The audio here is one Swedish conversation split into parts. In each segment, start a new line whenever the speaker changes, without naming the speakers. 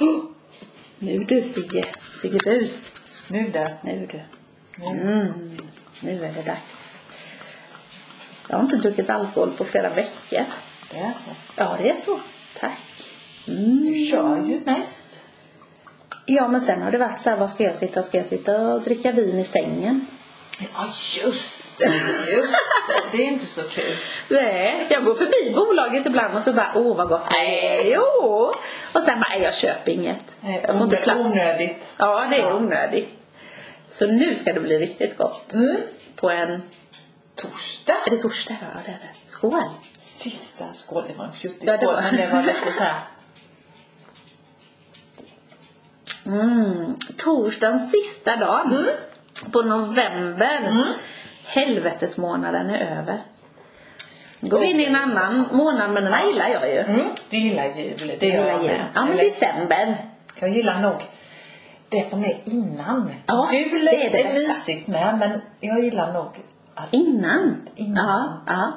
Åh, Nu du Sigge, Sigge Bus.
Nu det.
Nu du.
Nu.
Mm, nu är det dags. Jag har inte druckit alkohol på flera veckor.
Det är så.
Ja, det är så. Tack. Mm.
Du kör ju mest.
Ja, men sen har det varit så här, var ska jag sitta? Ska jag sitta och dricka vin i sängen?
Ja, just det. Just det. Det är inte så kul.
Nej, jag går förbi bolaget ibland och så bara, åh vad gott. Nej, jo. Och sen bara, nej, jag köper inget.
Nej,
Jag får inte
onö-
plats.
Onödigt.
Ja, det är onödigt. Så nu ska det bli riktigt gott.
Mm.
På en
Torsdag.
Är det torsdag? Ja, det är det. Skål!
Sista skål. Det var en fjuttig
Ja, det
skål,
var-
men det var lite så här.
Mm. Torsdagens sista dag på november.
Mm.
Helvetesmånaden är över. Då går vi in i en annan månad, men den här gillar jag ju.
Mm. Du gillar jul. Det
Jag
gör
gillar
jag
jul.
med.
Ja, men
Eller-
december.
Jag gillar nog det som är innan.
Ja,
Jul
det är det bästa.
mysigt med, men jag gillar nog att...
Innan.
Innan.
Ja, ja.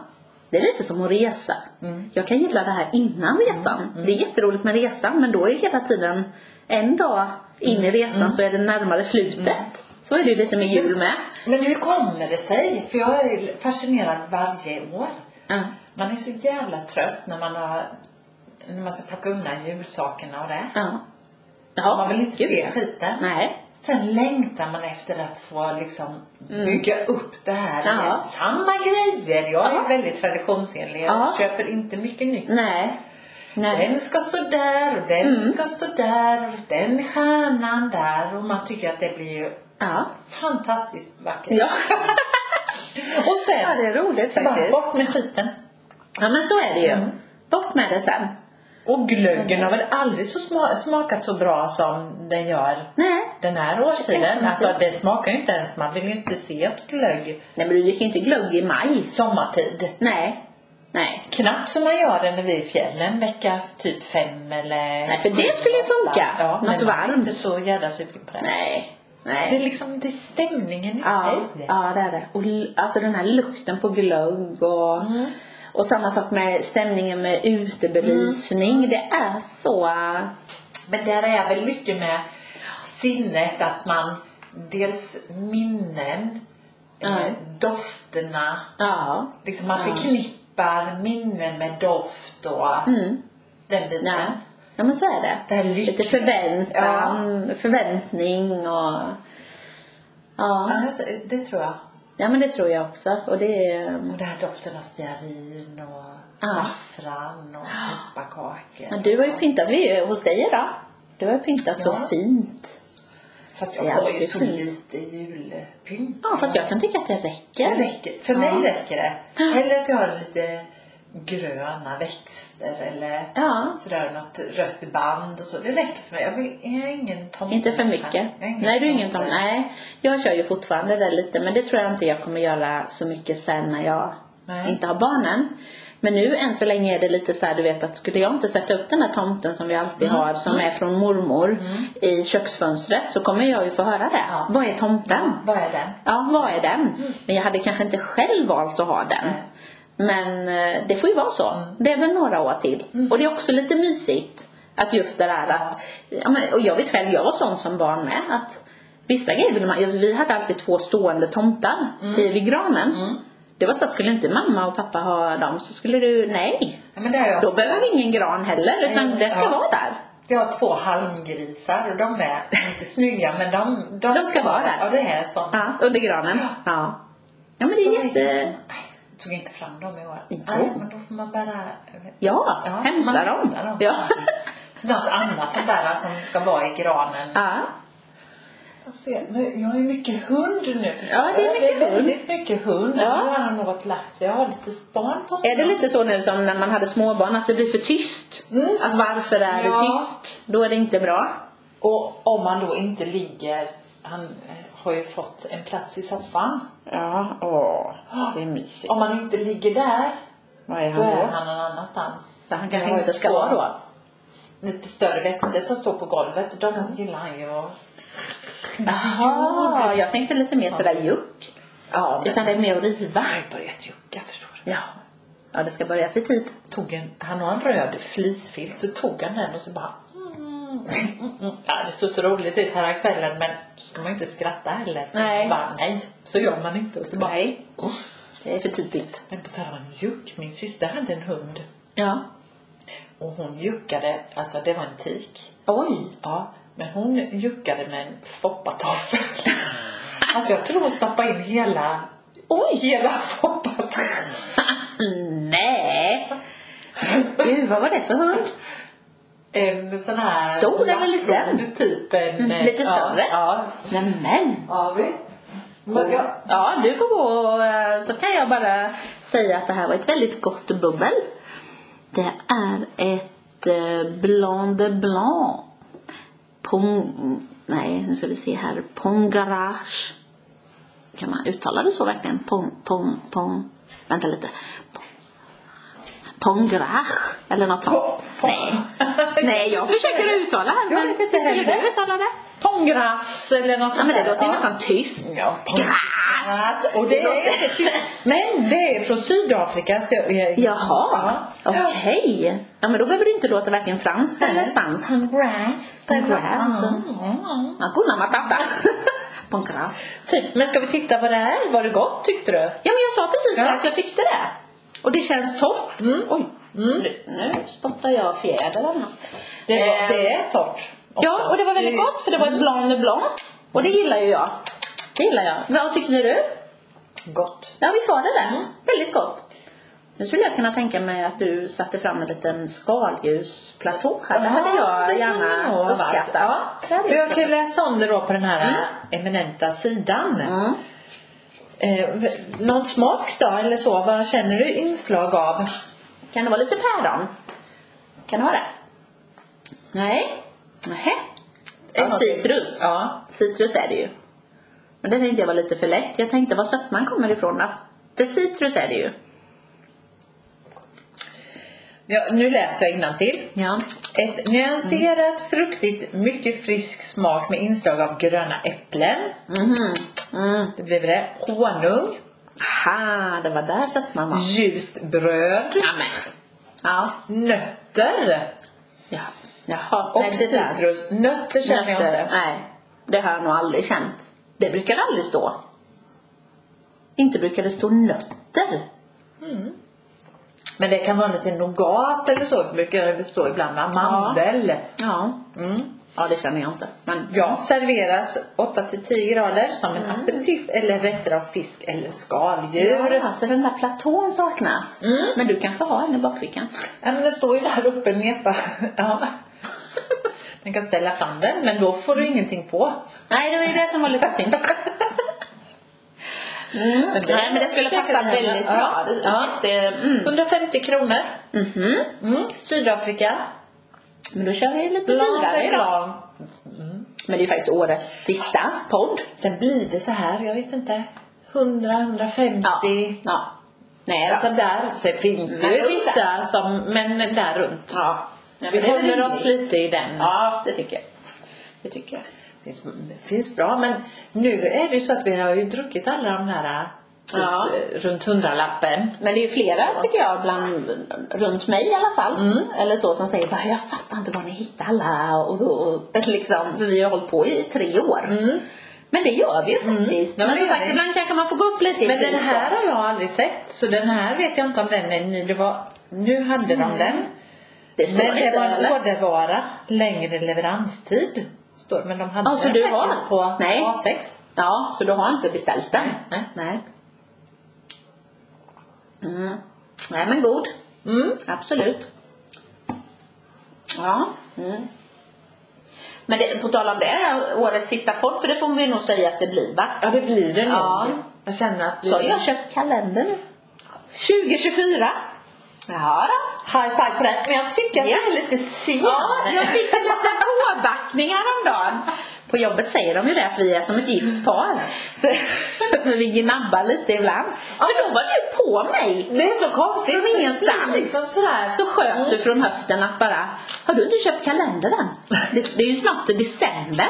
Det är lite som att resa.
Mm.
Jag kan gilla det här innan resan. Det är jätteroligt med resan, men då är hela tiden en dag in
Mm,
i resan så är det närmare slutet. Så är det ju lite med jul med.
Men hur kommer det sig? För jag är fascinerad varje år.
Ja.
Man är så jävla trött när man har när man ska plocka undan julsakerna och det.
Ja.
man vill inte
gud,
se
ja.
skiten.
Nej.
Sen längtar man efter att få liksom bygga upp det här
Mm. Ja.
igen. Samma grejer. Jag är
Ja.
väldigt traditionsenlig. Jag
Ja.
köper inte mycket nytt.
Nej. Nej. Mm.
Den ska stå där och den ska stå där och den stjärnan där. Och man tycker att det blir ju
Ja.
fantastiskt vackert.
Ja.
Och sen
ja, det är roligt
så bara
faktiskt.
bort med skiten.
Ja, men så är det ju.
Mm.
Bort med det sen.
Och glöggen har väl aldrig så sma- smakat så bra som den gör
Nej.
den här årstiden.
Definitivt.
Alltså den smakar ju inte ens, man vill ju inte se ett glögg
Nej, men du dricker ju inte glögg i maj.
sommartid.
Nej. Nej.
Knappt som man gör det när vi är i fjällen vecka typ fem eller
Nej, för det skulle ju funka.
Ja,
Något
men man är
varmt.
inte så jävla sugen på det.
Nej.
Det är
Nej.
liksom det är stämningen i
Ja,
sig.
ja, det är det. Och l- alltså den här lukten på glögg och,
Mm.
och samma sak med stämningen med utebelysning. Det är så...
Men där är väl mycket med sinnet att man dels minnen,
Ja.
eh, dofterna,
Ja.
liksom man
Ja.
förknippar minnen med doft och
Mm.
den biten.
Ja. ja, men så är det.
Det här lyckan.
Lite förväntan, förväntning och... Ja.
Ja, alltså, det tror jag.
ja, men det tror jag också. Och det är... ehm,
Och den här doften av stearin och
Ja.
saffran och pepparkakor.
Men du har ju pyntat, vi är ju hos dig idag. Du har ju pyntat så
Ja.
fint.
Fast jag
Ja,
har
det
ju
är
så
fint.
lite julpynt.
Ja, fast jag kan tycka att det räcker.
Det räcker. För
Ja.
mig räcker det. Hellre att jag har lite gröna växter eller
Ja.
sådär något rött band och så. Det räcker för mig. Jag, vill, jag är ingen tomte.
Inte för mycket.
Jag
Nej, du är ingen tom. Nej, jag kör ju fortfarande det lite, men det tror jag inte jag kommer göra så mycket sen när jag
Nej.
inte har barnen. Men nu än så länge är det lite så här, du vet att skulle jag inte sätta upp den där tomten som vi alltid
Mm.
har, som är från mormor, i köksfönstret, så kommer jag ju få höra det.
Ja.
Vad är tomten?
Vad är den?
Ja, vad är den? Men jag hade kanske inte själv valt att ha den.
Nej.
Men eh, det får ju vara så. Det är väl några år till. Och det är också lite mysigt att just det där att, ja, men, och jag vet själv, jag var sån som barn med att vissa grejer ville man, just, vi hade alltid två stående tomtar i vid granen. Det var så att skulle inte mamma och pappa ha dem så skulle du, nej.
Ja, men det har jag
Då
också.
behöver vi ingen gran heller utan
Nej,
det ska
ja.
vara där.
Jag har två halmgrisar och de är inte snygga men de,
De ska vara där.
Ja, det är sånt.
Ja, under granen. Ja. Ja men det är jätte,
Jag tog inte fram dem i år.
Jo.
Nej, men då får man bära...
ja, hämta
man
dem.
hämtar dem.
Ja.
Så något annat att bära som ska vara i granen.
ja.
Jag, ser, men jag har ju mycket hund nu. förstår
Ja, det är
du?
mycket
det är
hund.
väldigt mycket hund.
Ja.
Nu har han något lagt sig. Jag har lite span på
Är det
honom.
lite så nu som när man hade småbarn, att det blir för tyst?
Mm.
Att varför är
Ja.
det tyst? Då är det inte bra.
Och om man då inte ligger... Han eh, har ju fått en plats i soffan.
Ja, åh,
det
är mysigt.
Om man inte ligger där,
Vad är
då är han någon annanstans.
Så han
Jag
kanske
har
inte ska
två
vara då?
Lite större växter som står på golvet. De gillar han ju. att-
Jaha, jag tänkte lite mer sådär juck.
Ja,
Utan det är mer att riva.
Han har ju börjat jucka förstår du.
Ja. Ja, det ska börja i tid.
Tog en, han har en röd flisfilt så tog han den och så bara mm, Ja, det såg så roligt ut här kvällen men ska man ju inte skratta heller.
Nej.
Bara, nej, så gör man inte. Och så bara,
Nej. Det är för tidigt.
Men på tal om juck, min syster hade en hund
Ja.
och hon juckade, alltså det var en tik.
Oj.
Ja, men hon juckade med en foppatoffel. alltså jag tror hon stoppade in hela, Oj. hela foppatoffeln.
Nej. Gud, vad var det för hund?
En sån här
Stor eller liten?
lapphund, Typ en,
Mm,
eh,
lite större?
Ja,
Nämen.
ja. vi. Men jag,
Ja, du får gå och eh, så kan jag bara säga att det här var ett väldigt gott bubbel. Det är ett eh, Blanc de Blanc. Pong... Nej, nu ska vi se här. Pongarage. Kan man uttala det så verkligen? Pong... Pong... Pong... Vänta lite. Pong- Pongarage. Eller något sånt.
Pong-
Nej. Nej, jag försöker uttala här.
Jag
Men
vet inte
hur skulle
heller.
du uttala det?
Pongras eller något
Ja,
sånt
men det
där.
låter ju
Ja.
nästan tyskt.
Ja,
Gras!
Och det
Det låter
är inte tyst. Men det är från Sydafrika. Så jag, jag,
Jaha,
Ja.
okej. Ja men då behöver du inte låta varken franskt eller spanskt.
Pongras.
Pongras.
Mm.
Hakuna matata. Pancras.
Typ, men ska vi titta vad det är? Var det gott tyckte du?
Ja men jag sa precis
Ja. Mm.
att jag tyckte det. Och det känns torrt. Oj, nu, nu spottar jag fjäder eller något.
Det, var,
Ehm,
det är torrt.
Ja och det var väldigt gott för det var ett blanc de blanc. Och det gillar ju jag. Det gillar jag. Vad tyckte du?
Gott.
Ja vi sa det där.
Mm.
Väldigt gott. Nu skulle jag kunna tänka mig att du satte fram en liten skaldjursplatå här. det hade
Ja,
jag
det kan det nog ha
gärna
varit.
uppskattat.
Ja.
Det hade jag
Jag kan
uppskattat.
läsa om det då på den här eminenta sidan.
Mm.
Eh, v- någon smak då eller så? Vad känner du inslag av?
Kan det vara lite päron? Kan det vara det? Nej. Nähä.
Ja.
Och citrus.
Ja.
Citrus är det ju. Men det tänkte jag var lite för lätt. Jag tänkte var sötman kommer ifrån då. För citrus är det ju.
ja nu läser jag till.
Ja.
Ett nyanserat, fruktigt, mycket frisk smak med inslag av gröna äpplen.
Mhm. Mm.
Det blir väl det. Honung.
Aha, det var där sötman
Mm.
var.
Ljust bröd.
Ja, men. Ja.
Nötter.
ja. Jaha.
Och
Nej, det där.
citrus. Nötter känner jag
Nötter.
inte.
Nej. Det har jag nog aldrig känt. Det brukar aldrig stå. Inte brukar det stå nötter.
Men det kan vara lite nougat eller så. Det brukar det bestå ibland va? Mandel.
Ja.
Mm.
Ja, det känner jag inte. Men
Ja. Mm. Serveras 8 till 10 grader som en aperitif eller rätter av fisk eller skaldjur.
Ja, så den där platån saknas.
Mm.
Men du kanske har en i bakfickan?
Ja, men den står ju där uppe nepa. Ja. Man kan ställa fram den men då får du
Mm.
ingenting på.
Nej, det var ju det som var lite synd. Mm.
Men det-
Nej, men det skulle passa väldigt bra. Det-
Ja.
Jätte, mm.
150 kronor.
Mhm.
Mm. Sydafrika.
Men då kör vi lite
Blanc
vidare
de
idag.
blanc.
Men det är faktiskt årets sista podd.
Sen blir det så här, jag vet inte. 100, 150.
Ja. ja. Nej
Alltså
då.
där. Sen finns det ju
Nej,
vissa som, men där runt.
Ja. Ja, men
Vi
det är väl
håller
rimligt.
oss lite i den.
Ja, det tycker jag. Det tycker jag.
Finns, finns bra men nu är det ju så att vi har ju druckit alla de här typ,
Ja.
eh, runt hundralappen.
Men det är ju flera, tycker jag, bland, runt mig i alla fall, eller så, som säger bara jag fattar inte var ni hittar alla och då, och liksom, för vi har hållit på i tre år. Men det gör vi ju faktiskt.
Ja,
Mm. Men
det
som
gör
sagt,
vi.
ibland kanske man får gå upp lite i
Men den
pris då.
här har jag aldrig sett så den här vet jag inte om den är ny. Det var, nu hade de den.
Det står
Men det
inte,
var en
eller?
ordervara, längre leveranstid. Står, det. men de hade
Ja, så
den
Alltså, du har-
faktiskt på
Nej.
A6.
Ja, så du har inte beställt den?
Nej.
Nej. Mm. Nej men god.
Mm.
Absolut. Ja. Mm. Men det, på tal om det, årets sista podd, för det får vi nog säga att det blir va?
Ja det blir det nog.
Ja.
Jag känner att
Så har jag köpt kalender nu. 2024. Ja då.
high five på den. Men jag tycker att
Ja.
den är lite sen.
Ja, jag fick en liten påbackning häromdagen. På jobbet säger de ju det att vi är som ett gift par. För, för vi gnabbar lite ibland. För då var du på mig.
Det är så konstigt.
Från
för det blir
ingenstans.
Liksom Mm. sådär.
Så sköt du från höften att bara, har du inte köpt kalender än? Det, det är ju snart december.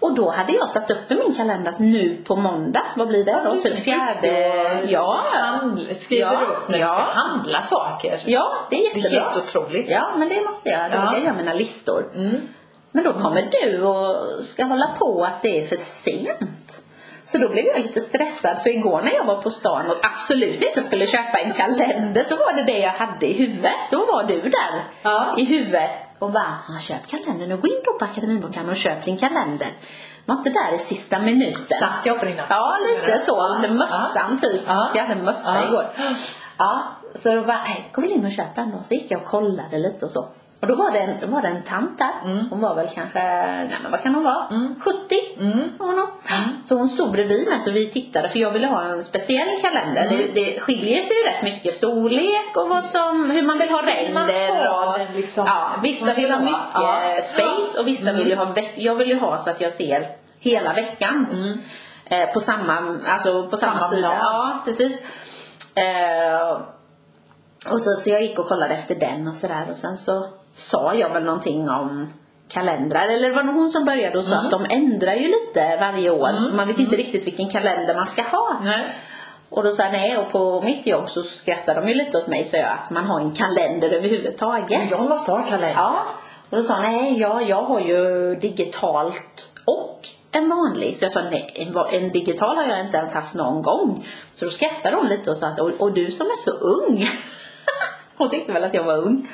Och då hade jag satt upp i min kalender att nu på måndag, vad blir det då?
du
Typ
ska
fjärde...
ut och-
Ja.
Handl- skriver
Ja,
upp när
ja.
du ska handla saker.
Ja, det är
Det är
jättebra.
helt otroligt.
Ja, men det måste jag. Då
Ja.
vill jag göra mina listor.
Mm.
Men då kommer du och ska hålla på att det är för sent. Så då blev jag lite stressad. Så igår när jag var på stan och absolut inte skulle köpa en kalender så var det det jag hade i huvudet. Då var du där
Ja.
i huvudet och bara, "Ja, köp kalendern och gå in då på Akademibokhandeln och köp din kalender. Var inte där i sista minuten.
Satt jag på dina?
Ja, lite så. Under
Ja.
mössan typ.
Ja.
Jag hade mössa
Ja.
igår. Ja, så då bara, nej, gå väl in och köp en då. Så gick jag och kollade lite och så. Och då var det en, var det en tant där.
Mm.
Hon var väl kanske, nej men vad kan hon vara?
Mm.
70?
Mm.
var Hon nog. Så hon stod bredvid mig så vi tittade för jag ville ha en speciell kalender.
Mm.
Det, det skiljer sig ju rätt mycket storlek och vad som, hur man vill ha
Man
ränder.
har
Och,
den liksom.
ja, vissa vill ha mycket
Ja. Mm.
space och vissa vill ju ha veck- Jag vill ju ha så att jag ser hela veckan.
Mm.
Eh, på samma, alltså på samma,
Samma
sida.
blad.
Ja, precis. Eh, och så, så jag gick och kollade efter den och sådär och sen så sa jag väl någonting om kalendrar eller det var nog hon som började och sa att de ändrar ju lite varje år så man vet inte riktigt vilken kalender man ska ha.
Nej.
Och då sa jag nej och på mitt jobb så skrattade de ju lite åt mig sa jag att man har en kalender överhuvudtaget.
Men jag måste ha kalender.
Ja. Och då sa han, nej ja, jag har ju digitalt och en vanlig. Så jag sa, nej en, va- en digital har jag inte ens haft någon gång. Så då skrattade hon lite och sa att, och, och du som är så ung. hon tyckte väl att jag var ung.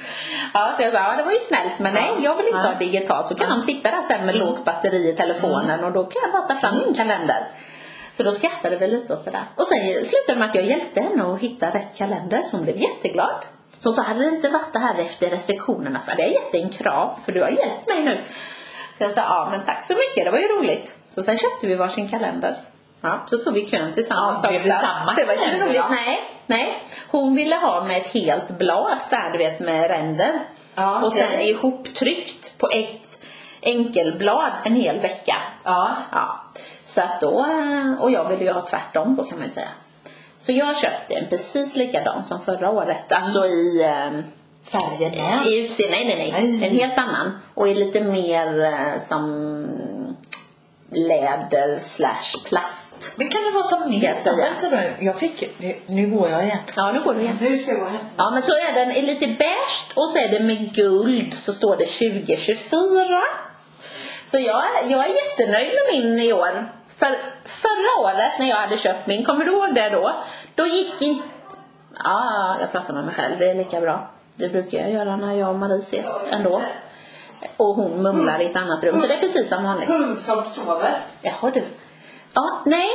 Ja, så jag sa, ja det var ju snällt men nej jag vill inte
Ja. Mm.
ha digitalt. Så kan de sitta där sen med lågt batteri i telefonen och då kan jag bara ta fram min kalender. Så då skrattade vi lite åt det där. Och sen slutade det med att jag hjälpte henne att hitta rätt kalender så hon blev jätteglad. Så hon sa, hade det inte varit det här efter restriktionerna så hade jag gett dig en kram för du har hjälpt mig nu. Så jag sa, ja men tack så mycket, det var ju roligt. Så sen köpte vi varsin kalender. Ja, så stod vi i kön tillsammans
Ja, blev det
också.
samma
det var inte
kalender,
roligt.
ja?
Nej, nej. Hon ville ha med ett helt blad så här, du vet med ränder.
Ja,
och sen
okej.
ihoptryckt på ett enkelblad en hel vecka.
Ja.
Ja, så att då, eh, och jag ville ju ha tvärtom då kan man ju säga. Så jag köpte en precis likadan som förra året, alltså i, eh,
Färgen
i utseende, nej nej nej,
Nej.
en helt annan. Och är lite mer eh, som läder slash plast.
Men kan det vara som min?
jag säga?
Vänta nu. Jag fick nu- Nu går jag igen.
Ja, nu går det igen.
Nu ska jag gå och hämta.
Ja, men så är den i lite beige och så är det med guld så står det 2024. Så jag, jag är jättenöjd med min i år. För förra året när jag hade köpt min, kommer du ihåg det då? Då gick inte... Ja, jag pratar med mig själv, det är lika bra. Det brukar jag göra när jag och Marie ses ändå. Och hon mumlar i ett annat rum, så det är precis som vanligt.
Hund som sover.
Jaha du. Ja, nej.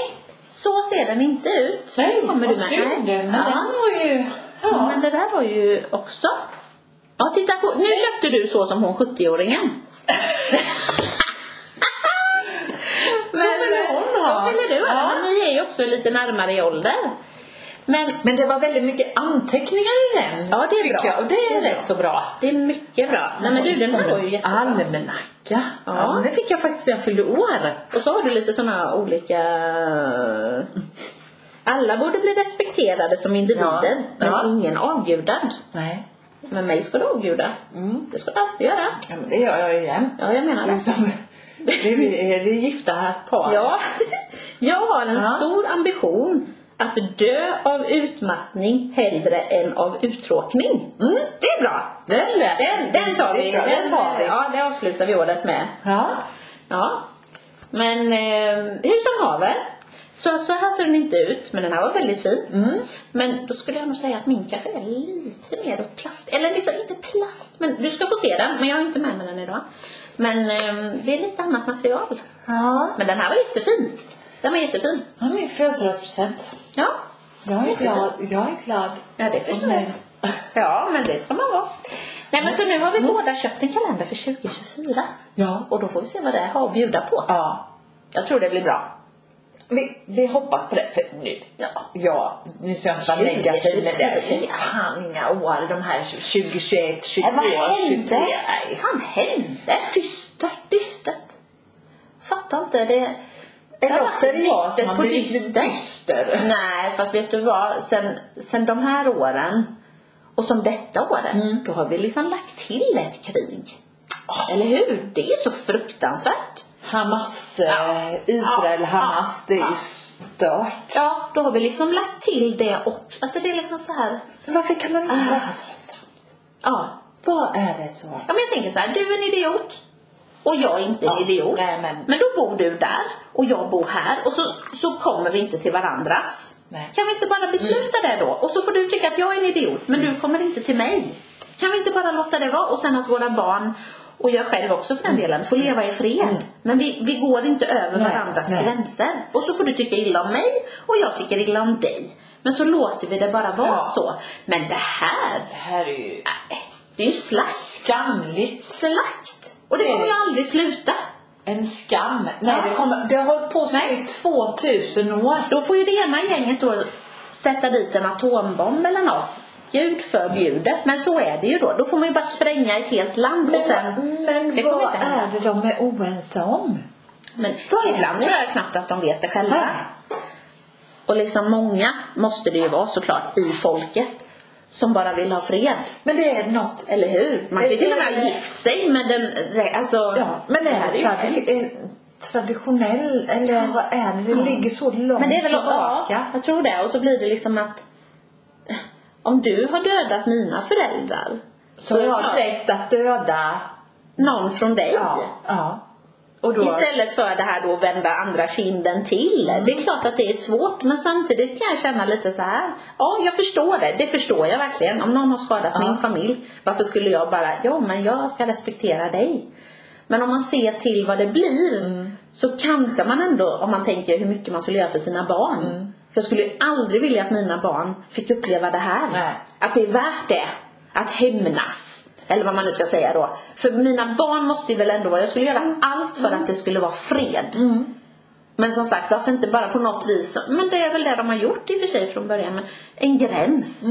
Så ser den inte ut.
Nej,
Kommer
vad
du med?
synd.
Nej.
Men
Ja.
den var ju...
Ja.
Ja.
Men det där var ju också... Ja, titta på... Nu köpte du så som hon 70-åringen.
Så ville hon ha.
Så ville du ha.
Ja.
Men ni är ju också lite närmare i ålder. Men
Men det var väldigt mycket anteckningar i den.
Ja, det är
tycker
bra.
Jag. Och det är
Det är
rätt så bra.
det är mycket bra. Nej men du, den här var ju jättebra.
Almanacka.
Ja.
Ja. men Det fick jag faktiskt när jag fyllde år.
Och så har du lite sådana olika... Alla borde bli respekterade som individer,
Ja.
men
Ja.
ingen avgudad.
Nej.
Men mig ska du avguda.
Mm.
Det ska du alltid göra.
Ja, men det gör jag ju jämt.
Ja, jag menar
Det är
det.
som- Det är, det är gifta par.
Ja, jag har en
Ja.
stor ambition att dö av utmattning hellre än av uttråkning.
Mm.
Det är bra.
Den lät-
Den, den tar vi.
Det är bra, den tar vi.
Ja, det avslutar vi året med.
Ja.
Ja. Men eh, hur som haver. Så, så här ser den inte ut, men den här var väldigt fin.
Mm.
Men då skulle jag nog säga att min kanske är lite mer åt plast. Eller liksom inte plast, men du ska få se den. Men jag har inte med mig den idag. Men eh, det är lite annat material.
Ja.
Men den här var jättefin. Den var jättefin.
Ja, min födelsedagspresent.
Ja.
Jag är glad. Jag är glad.
Ja, det förstår jag. Ja, men det ska man vara. Nej, men så nu har vi
Mm.
båda köpt en kalender för 2024.
Ja.
Och då får vi se vad det har att bjuda på.
Ja.
Jag tror det blir bra.
Vi, vi hoppas på det. För nu.
Ja.
Ja, nu ska jag inte vara
20,
negativ med
23.
det. Fy fan inga år. De här 2021, 22,
Äh, vad hände?
23.
Vad fan hände? Dystert, dystert. Fattar inte. Det...
Eller
Ja,
också är det jag
dyster
som har
på
blivit
dyster.
dyster.
Nej, fast vet du vad? Sen, sen de här åren och som detta året,
Mm.
då har vi liksom lagt till ett krig. Eller hur? Det är ju så fruktansvärt.
Hamas,
Ja.
eh, Israel,
Ja.
Hamas, det är
Ja.
ju stört.
Ja, då har vi liksom lagt till det och Alltså det är liksom så här.
Varför kan man inte
Ah.
vara så?
Ja.
Vad är det så?
ja men jag tänker så här, du är en idiot. och jag är inte en
Ja,
idiot.
nej, men-
då bor du där och jag bor här och så, så kommer vi inte till varandras.
Nej.
Kan vi inte bara besluta det då? Och så får du tycka att jag är en idiot men
Mm.
du kommer inte till mig. Kan vi inte bara låta det vara och sen att våra barn och jag själv också för den delen får leva i fred. Men vi, vi går inte över
Mm. Nej,
varandras
nej.
gränser. Och så får du tycka illa om mig och jag tycker illa om dig. Men så låter vi det bara vara
Ja.
så. Men det här,
Det här är ju
nej, det är ju slask
skamligt.
slakt. Och det kommer ju aldrig sluta.
En skam. Nej, det, kommer, det har hållit på så
Nej.
i 2000 år.
Då får ju det ena gänget då sätta dit en atombomb eller något. Gud förbjude. Men så är det ju då. Då får man ju bara spränga ett helt land och sen...
men
det kommer
vad
inte hända.
är det de är oense om?
Men
Vad är
ibland
det?
tror jag knappt att de vet det själva.
Nej.
Och liksom många måste det ju vara såklart i folket. Som bara vill ha fred.
Men det är något...
Eller hur? Man kan ju till och
Eh,
med
eh,
gift sig med den... Alltså...
Ja, men är det,
ju
tradi- eh, traditionell eller vad är det? Det ligger så långt
Men det är väl ja,
tillbaka.
jag tror det. Och så blir det liksom att eh, om du har dödat mina föräldrar
Så jag
är det
har
klart,
rätt att döda.
någon från dig.
Ja. ja. Och då...
Istället för det här då att vända andra kinden till. Det
Mm.
är klart att det är svårt men samtidigt kan jag känna lite så här. Ja, jag förstår det. Det förstår jag verkligen. Om någon har skadat
Ja.
min familj. Varför skulle jag bara, ja men jag ska respektera dig. Men om man ser till vad det blir så kanske man ändå, om man tänker hur mycket man skulle göra för sina barn. Jag skulle ju aldrig vilja att mina barn fick uppleva det här.
Nej.
Att det är värt det. Att hämnas. Eller vad man nu ska säga då. För mina barn måste ju väl ändå vara, jag skulle göra allt för att det skulle vara fred. Men som sagt, varför inte bara på något vis, men det är väl det de har gjort i och för sig från början, men en gräns.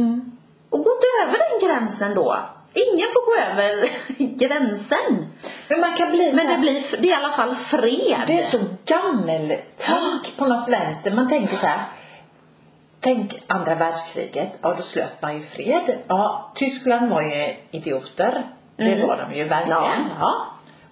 Och gå inte över den gränsen då. Ingen får gå över gränsen.
Men man kan bli så
Men
här-
det blir, det är i alla fall fred.
Det är så gammel tank på något vänster. Man tänker så här. Tänk andra världskriget. Ja, då slöt man ju fred. Ja, Tyskland var ju idioter. Det
Mm.
var de ju verkligen.
Ja.
Ja.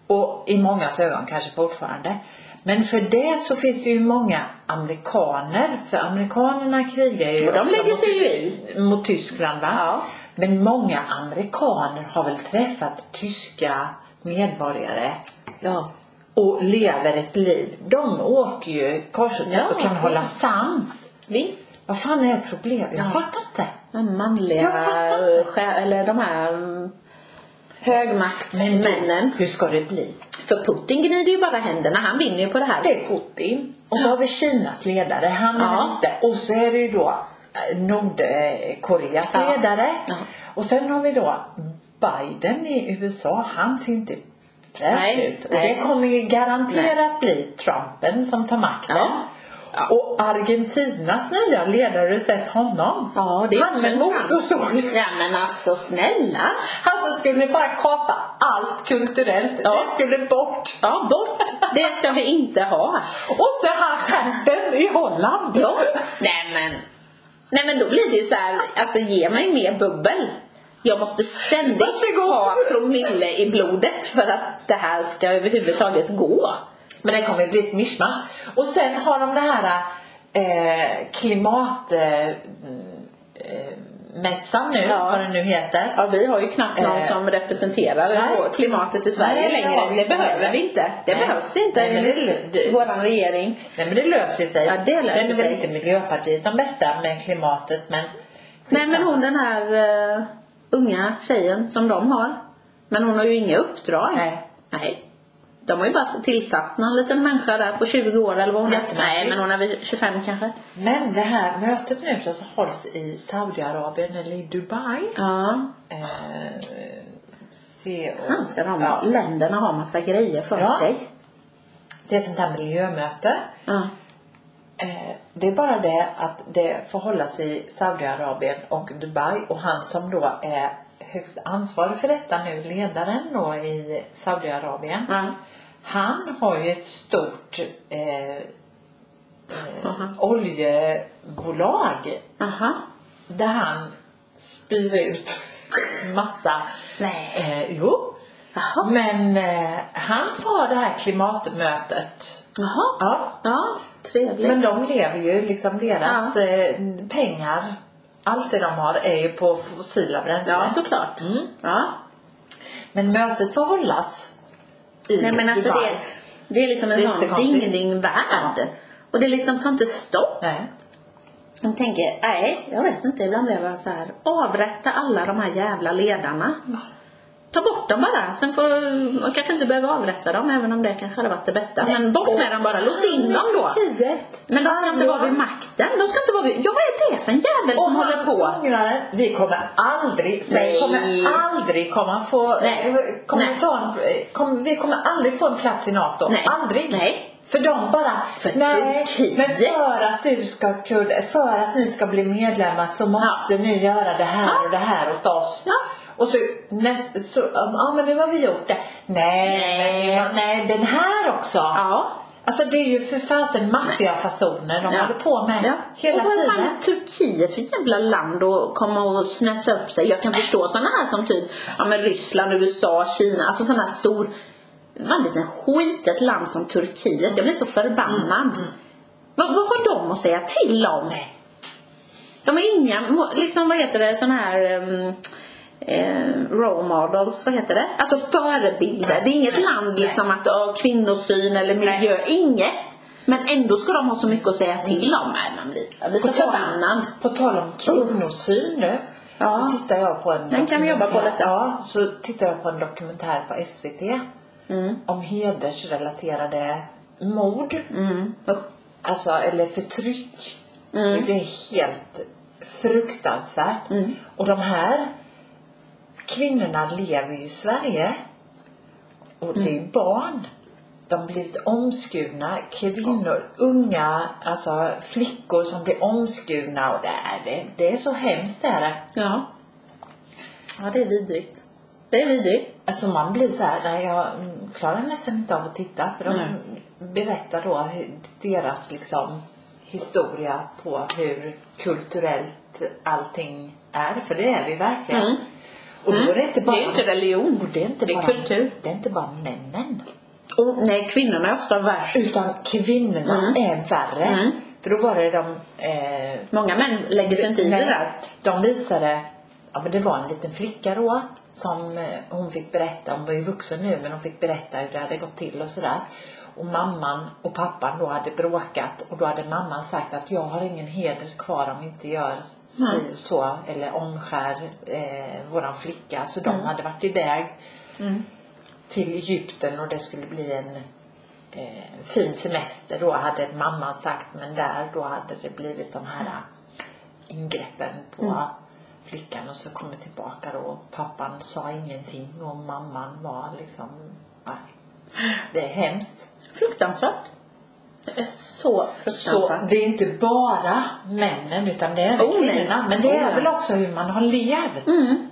Och i många ögon kanske fortfarande. Men för det så finns det ju många amerikaner. För amerikanerna krigar ju
Och de
också
lägger
mot-
sig ju i.
mot Tyskland va?
Ja.
Men många amerikaner har väl träffat tyska medborgare
Ja.
och lever ett liv. De åker ju kors och tvärs
Ja.
och kan hålla sams.
Visst.
Vad fan är problemet? Jag fattar inte.
Men manliga,
Jag fattar
eh, sjä- eller de här mm, högmaktsmännen.
hur ska det bli?
För Putin gnider ju bara händerna, han vinner ju på det här.
Det är Putin. Och så har vi Kinas ledare. Han är
Ja.
inte. Och så är det ju då eh, Nordkoreas
Ja.
ledare.
Ja.
Och sen har vi då Biden i USA. Han ser inte fräsch
Nej,
ut. Och
nej.
det kommer ju garanterat bli Trumpen som tar makten.
Ja. Ja.
Och Argentinas nya ledare, har du sett honom?
Ja, det är
Han
också
med
en fram-
motorsåg.
Ja men alltså snälla.
Han som skulle bara kapa allt kulturellt.
Ja.
Det skulle bort.
Ja, bort. Det ska vi inte ha.
Och så han chefen i Holland.
Ja. Nej men. Nej men då blir det ju så här, alltså ge mig mer bubbel. Jag måste ständigt
Varsågod.
ha promille i blodet för att det här ska överhuvudtaget gå.
Men det kommer bli ett mischmasch. Och sen har de det här eh, klimatmässan eh, mässan nu,
Ja.
vad den nu heter.
Ja, vi har ju knappt någon
Eh.
som representerar
Nej.
klimatet i Sverige
Nej, det har vi
längre. Det
inte.
behöver vi inte. Det
Nej.
behövs inte
Nej, men det-
enligt
det-
våran regering.
Nej men det löser sig.
Ja, det löser
sen är väl
sig.
inte Miljöpartiet de bästa med klimatet men
Nej men hon den här eh, unga tjejen som de har. Men hon har ju inga uppdrag.
Nej.
Nej. De har ju bara tillsatt någon liten människa där på 20 år eller vad hon är. Nej
Jättemärkligt.
men hon är väl 25 kanske.
Men det här mötet nu som så hålls i Saudiarabien eller i Dubai.
Ja.
Eh, se och,
Fan ska de
Ja.
ha. Länderna har massa grejer för
Ja.
sig.
Det är ett sånt här miljömöte.
Ja.
Eh, det är bara det att det får hållas i Saudiarabien och Dubai och han som då är högst ansvarig för detta nu, ledaren då i Saudiarabien.
Ja.
Han har ju ett stort eh,
Aha.
oljebolag
Aha.
där han spyr ut massa.
Nej.
Eh, jo.
Jaha.
Men eh, han tar det här klimatmötet.
Jaha.
Ja.
Ja. Trevligt.
Men de lever ju liksom deras eh, pengar. Allt det de har är ju på fossila bränslen.
ja såklart.
Mm.
Ja.
Men mötet får hållas i
Nej men alltså
Dubai.
det, det är liksom en
Lite
sån
konstigt.
ding-ding-värld. Och det liksom tar inte stopp.
Nej.
Man tänker, nej jag vet inte, ibland blir jag bara så här. avrätta alla de här jävla ledarna. Ta bort dem bara, sen får, man kanske inte behöver avrätta dem även om det kanske hade varit det bästa. Men bort med dem bara, lås in dem då.
Turkiet.
Men alltså, de ska inte vara vid
Arga.
makten, de ska inte vara vid, ja vad är det för en jävel
Och
som håller på?
ångraren, vi kommer aldrig,
Nej.
Sverige kommer aldrig komma få,
Nej.
Kommer
Nej.
Ta en, kommer- vi kommer aldrig få en plats i NATO.
Nej.
Aldrig.
Nej.
För de bara,
För
nej,
Turkiet.
men för att du ska kunna, för att ni ska bli medlemmar så måste ni göra det här och det här åt oss.
Ja.
Och så, näst, så, ja men nu har vi gjort det. Nej,
Nej.
Men, nej den här också.
Ja.
Alltså det är ju för fasen maffiafasoner de
ja.
håller på med
Ja.
hela
och vad
tiden.
fan är Turkiet för jävla land att komma och snäsa upp sig? Jag kan förstå sådana här som typ ja, men Ryssland, USA, Kina, alltså sådana här stor vad en liten skitet land som Turkiet. Jag blir så
Mm,
förbannad. Vad, vad har de att säga till om?
Nej.
De är inga, mo- liksom vad heter det, sådana här ehm, eh, role models, vad heter det? Alltså förebilder. Det är inget land liksom att oh, kvinnosyn eller miljö, inget. Men ändå ska de ha så mycket att säga till om. Mm. Nej, man blir, jag blir så
På tal-
förbannad.
På tal om kvinnosyn nu.
Ja.
Så tittar jag på en
Den kan vi jobba på
dokumentär-
lite.
Ja, så tittar jag på en dokumentär på SVT. Om hedersrelaterade mord.
Mm. Usch.
Alltså, eller förtryck.
Mm.
Det är helt fruktansvärt.
Mm.
Och de här kvinnorna lever ju i Sverige. Och det är
Mm.
ju barn. De har blivit omskurna. Kvinnor, unga, alltså flickor som blir omskurna. Och det är, det, det är så hemskt det här.
Ja. Ja, det är vidrigt. Det är vidrigt.
Alltså man blir så här, nej jag mm, klarar nästan inte av att titta. För de
Nej.
berättar då hur, deras liksom historia på hur kulturellt allting är. För det är det ju verkligen.
Mm.
Och då är det inte bara...
Det är inte religion.
Och det är inte
Det är
bara,
kultur.
Det är inte bara männen.
Och, nej, kvinnorna är ofta värst.
Utan kvinnorna
Mm.
är värre.
Mm.
För då var det de... Eh,
Många män lägger sig inte i det
nej,
där.
De visade... Ja men det var en liten flicka då. Som eh, hon fick berätta. Hon var ju vuxen nu men hon fick berätta hur det hade gått till och sådär. Och mamman och pappan då hade bråkat. Och då hade mamman sagt att jag har ingen heder kvar om vi inte gör si
Mm.
och så. Eller omskär eh, våran flicka. Så de hade varit iväg
Mm.
till Egypten och det skulle bli en eh, fin semester då hade mamman sagt men där då hade det blivit de här eh,
Mm.
ingreppen på flickan och så kom jag tillbaka då och pappan sa ingenting och mamman var liksom nej. Det är hemskt.
Fruktansvärt. Det är så
Så
fruktansvärt.
det är inte bara männen utan det är även
Oh, nej.
kvinnorna. Men det
Oh,
är
ja.
väl också hur man har levt.
Mm.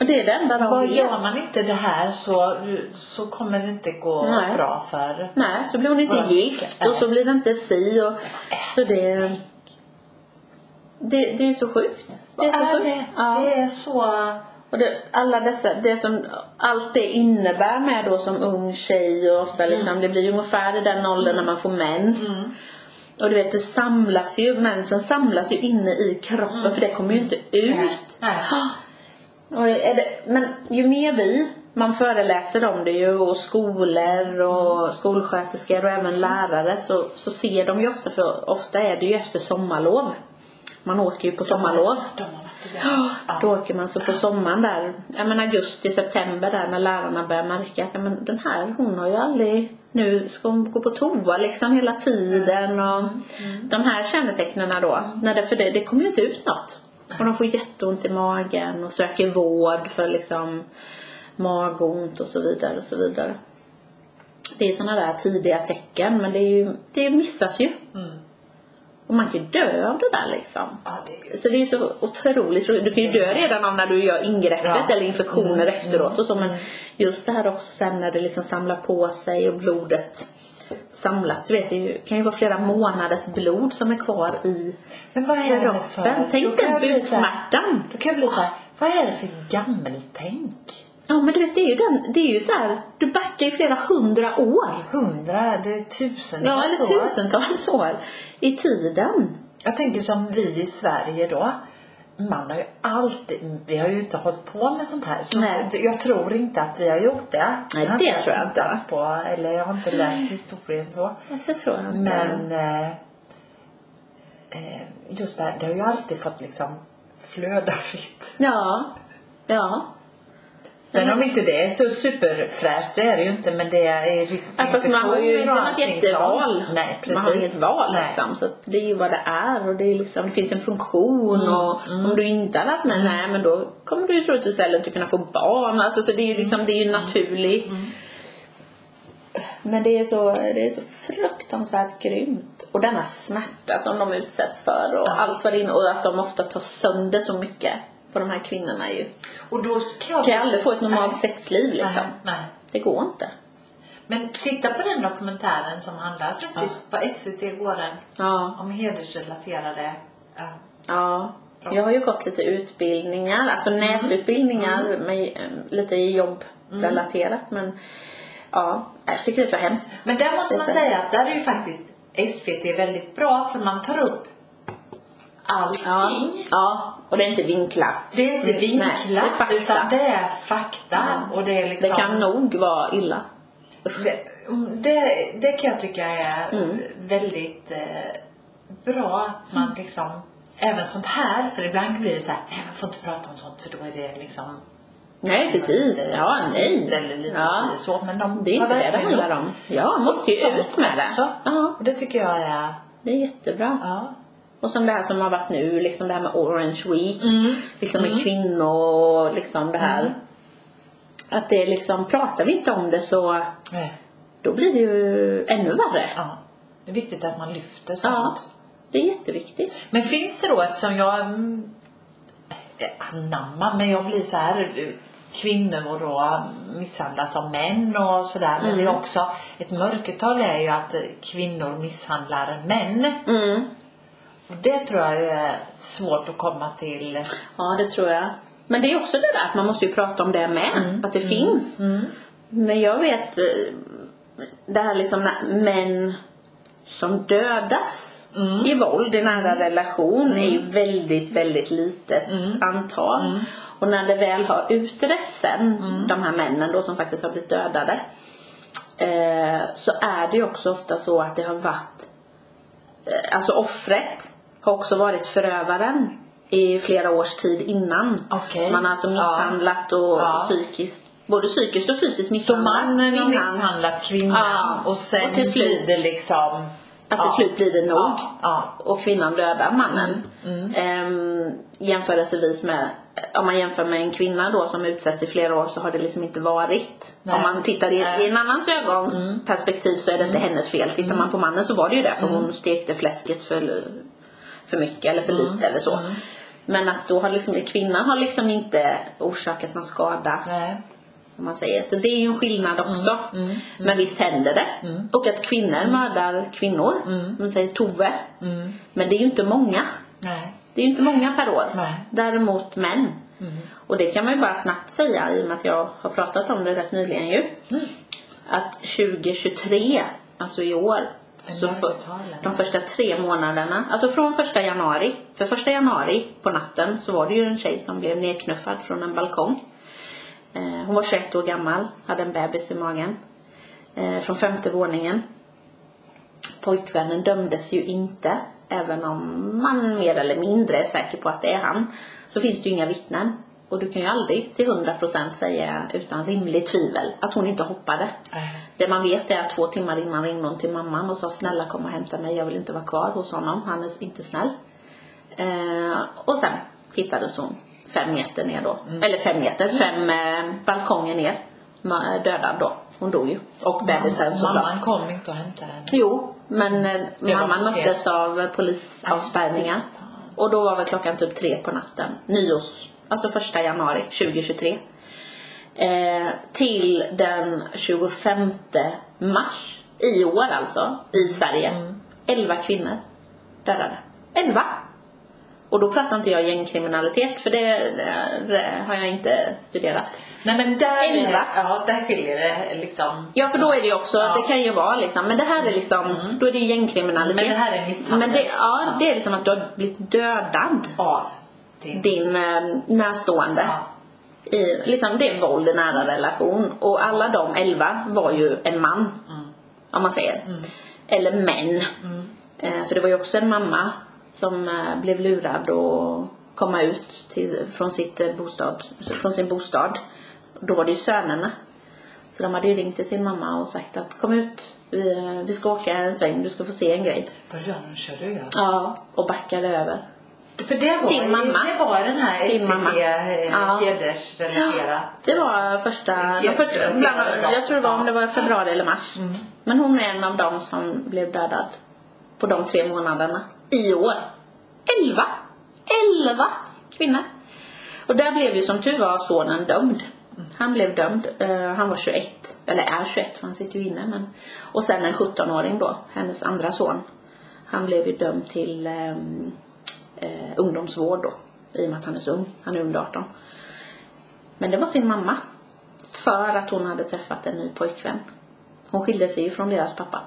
Och det är det enda de
Vad
vet.
gör man inte det här så, så kommer det inte gå
Nej.
bra för
Nej, så blir hon inte
Våra
gift
flickor.
och så blir det inte si och så det... Det, det är så sjukt. Det är så
Vad är
sjukt.
det?
Ja.
Det är så...
Och det, alla dessa, det som, allt det innebär med då som ung tjej och
Mm.
ofta liksom, det blir ju ungefär i den åldern när man får mens. Och du vet det samlas ju, mensen samlas ju inne i kroppen
Mm.
för det kommer ju inte ut.
Nej.
Och är det, men ju mer vi, man föreläser om det ju och skolor och skolsköterskor och även lärare så, så ser de ju ofta, för ofta är det ju efter sommarlov. Man åker ju på sommarlov.
De har varit iväg.
Då åker man så på sommaren där, ja men augusti, september där när lärarna börjar märka att ja, men den här hon har ju aldrig, nu ska hon gå på toa liksom hela tiden och de här kännetecknen då, när det, för det, det kommer ju inte ut något. Och de får jätteont i magen och söker vård för liksom magont och så vidare och så vidare. Det är sådana där tidiga tecken men det, är ju, det missas ju.
Mm.
Och man kan ju dö av det där liksom.
Ja, det är ju-
Så det är ju så otroligt roligt. Du kan ju dö redan av när du gör ingreppet
Ja. Mm.
eller infektioner efteråt och så men just det här också sen när det liksom samlar på sig och blodet samlas. Du vet det är ju- kan ju vara flera månaders blod som är kvar i
Men vad är det
kroppen.
för...
Tänk
då kan
dig
jag bli så här-
buksmärtan.
Då kan jag bli såhär, vad är det för gammeltänk?
Ja men du vet det är ju den, det är ju så här, du backar ju flera hundra år.
Hundra, det är tusen.
Ja eller
så.
tusentals år i tiden.
Jag tänker som vi i Sverige då. man har ju alltid, vi har ju inte hållit på med sånt här. Så
Nej.
jag tror inte att vi har gjort det.
Nej,
har
det
inte
tror jag inte.
tittat På, eller jag har inte läst historien så.
Så tror jag inte.
Men eh, eh, just det här, det har ju alltid fått liksom flöda fritt.
Ja. Ja.
Sen om inte det är så superfräscht, det är det ju inte, men det är risk för
Ja, fast man har ju inte
infektioner och
något
allting
jätteval.
sånt. Nej, precis.
Man har inget val
Nej.
liksom. Så att det är ju vad det är och det, är liksom, det finns en funktion och om du inte hade haft med, nej men då kommer du ju troligtvis heller inte kunna få barn. Alltså, så det är ju liksom, det är ju naturligt. Men det är, så, det är så fruktansvärt grymt. Och denna smärta som de utsätts för och
Ja.
allt vad det innebär. Och att de ofta tar sönder så mycket på de här kvinnorna ju.
Och då kan jag...
De kan ju aldrig få ett normalt sexliv liksom.
Nej, nej.
Det går inte.
Men titta på den dokumentären som handlar faktiskt på SVT går den
Ja.
om hedersrelaterade ja.
Ja.
Bra.
Jag har ju gått lite utbildningar, alltså nätutbildningar med, eh, lite i jobbrelaterat men ja, jag tycker det är så hemskt.
Men där måste man
Det är så.
säga att där är ju faktiskt SVT väldigt bra för man tar upp allting.
Ja. ja, och det är inte vinklat.
Det är inte
Nej, det är
vinklat
fakta.
utan det är fakta. Och det är
Det
liksom...
kan nog vara illa.
Det, det, det kan jag tycka är
Mm.
väldigt eh, bra att man liksom Även sånt här, för ibland blir det så här, nej man får inte prata om sånt för då är det liksom
Nej, precis.
lite
Ja,
rasistiskt Eller
nej.
lite
Ja.
si och så. Men de
Det är inte det
har
det
verkligen
handlar
gjort
om. Ja, måste ju
sånt
ut med det.
också.
Ja,
Och det tycker jag är,
det är jättebra.
ja.
Och som det här som har varit nu, liksom det här med Orange Week.
Mm.
Liksom med kvinnor och liksom det här. Att det liksom, pratar vi inte om det så
Nej,
då blir det ju ännu värre.
Eh, Ja. Det är viktigt att man lyfter
Ja,
sånt.
det är jätteviktigt.
Men finns det då, eftersom jag mm, eh, anammar, men jag blir så här eh, kvinnor och då misshandlas av män och sådär. Men
Mm.
det är också, ett mörkertal är ju att eh, kvinnor misshandlar män.
Mm.
Och det tror jag är svårt att komma till.
Ja, det tror jag. Men det är också det där att man måste ju prata om det med,
Mm.
att det finns. Men jag vet eh, det här liksom när män som dödas i våld i nära relation är ju väldigt, väldigt litet antal. Och när det väl har utretts sen, de här männen då som faktiskt har blivit dödade, eh, så är det ju också ofta så att det har varit eh, alltså offret har också varit förövaren i flera års tid innan.
Okej.
Man har alltså misshandlat och
Ja.
psykiskt, både psykiskt och fysiskt
Så
misshandlat
mannen har
kvinnan.
misshandlat kvinnan
Ja.
och sen
Och till slut-
blir det liksom...
Att till slut blir det nog.
Ja, ja. Mm.
Och kvinnan dödar mannen. Ehm, jämförelsevis med, om man jämför med en kvinna då som utsätts i flera år så har det liksom inte varit.
Nej.
Om man tittar i,
Nej. Mm.
i en annans ögons perspektiv så är det inte hennes fel. Tittar man på mannen så var det ju det för
Mm.
hon stekte fläsket för, för mycket eller för lite eller så.
Mm.
Men att då har liksom, kvinnan har liksom inte orsakat någon skada.
Nej.
Om man säger. Så det är ju en skillnad också. Men visst händer det. Och att kvinnor mördar kvinnor. Om man säger Tove. Men det är ju inte många.
Nej.
Det är ju inte många per år.
Nej.
Däremot män. Och det kan man ju bara snabbt säga i och med att jag har pratat om det rätt nyligen ju. Att 2023, alltså i år.
Är
Så för,
mörkertalen.
de första tre månaderna, alltså från första januari. För första januari på natten så var det ju en tjej som blev nedknuffad från en balkong. Eh, hon var 21 år gammal, hade en bebis i magen. Eh, från femte våningen. Pojkvännen dömdes ju inte. Även om man mer eller mindre är säker på att det är han. Så finns det ju inga vittnen. Och du kan ju aldrig till 100% säga utan rimligt tvivel att hon inte hoppade.
Nej.
Det man vet är att två timmar innan ringde hon till mamman och sa snälla kom och hämta mig, jag vill inte vara kvar hos honom, han är inte snäll. Eh, och sen hittades hon fem meter ner då, eller fem meter, fem eh, balkonger ner, Ma- eh, dödad då. Hon dog ju. Och bebisen såklart.
Mamman kom inte och hämtade henne.
Jo, men eh,
Det var
mamman
för sent.
möttes av eh, polisavspärrningar.
Ja.
Och då var väl klockan typ tre på natten, nyårs, alltså första januari 2023. Eh, till den 25 mars i år alltså, i Sverige.
Mm.
11 kvinnor dödade. 11! Och då pratar inte jag gängkriminalitet, för det, eh, det har jag inte studerat.
Nej men där, är-
Elva.
ja, där skiljer det liksom.
Ja för då är det ju också,
Ja. Mm.
det kan ju vara liksom, men det här är liksom, då är det ju gängkriminalitet.
Men det här är misshandel.
Men det, ja, det är liksom att du har blivit dödad
Av. Din.
din eh, närstående.
Ja.
I, liksom det är våld i nära relation och alla de elva var ju en man. Om man säger. Eller män. Eh, för det var ju också en mamma som eh, blev lurad och komma ut till, från, sitt eh, bostad, från sin bostad. Då var det ju sönerna. Så de hade ju ringt till sin mamma och sagt att kom ut, vi, vi ska åka en sväng, du ska få se en grej.
Vad gör hon? Kör du? Ja.
Ja, och backade över.
För det var,
Sin mamma.
Det var den här
Sin mamma.
eh,
Ja.
SVT-hedersrelaterat.
Det var första, de första bland, jag tror det var om det var februari eller mars. Men hon är en av dem som blev dödad på de tre månaderna i år. Elva! Elva kvinnor! Och där blev ju som tur var sonen dömd. Han blev dömd. Eh, han var 21, eller är 21 för han sitter ju inne. Men... Och sen en 17-åring då, hennes andra son. Han blev ju dömd till ehm, eh, ungdomsvård då. I och med att han är så ung. Han är under 18. Men det var sin mamma. För att hon hade träffat en ny pojkvän. Hon skilde sig ju från deras pappa.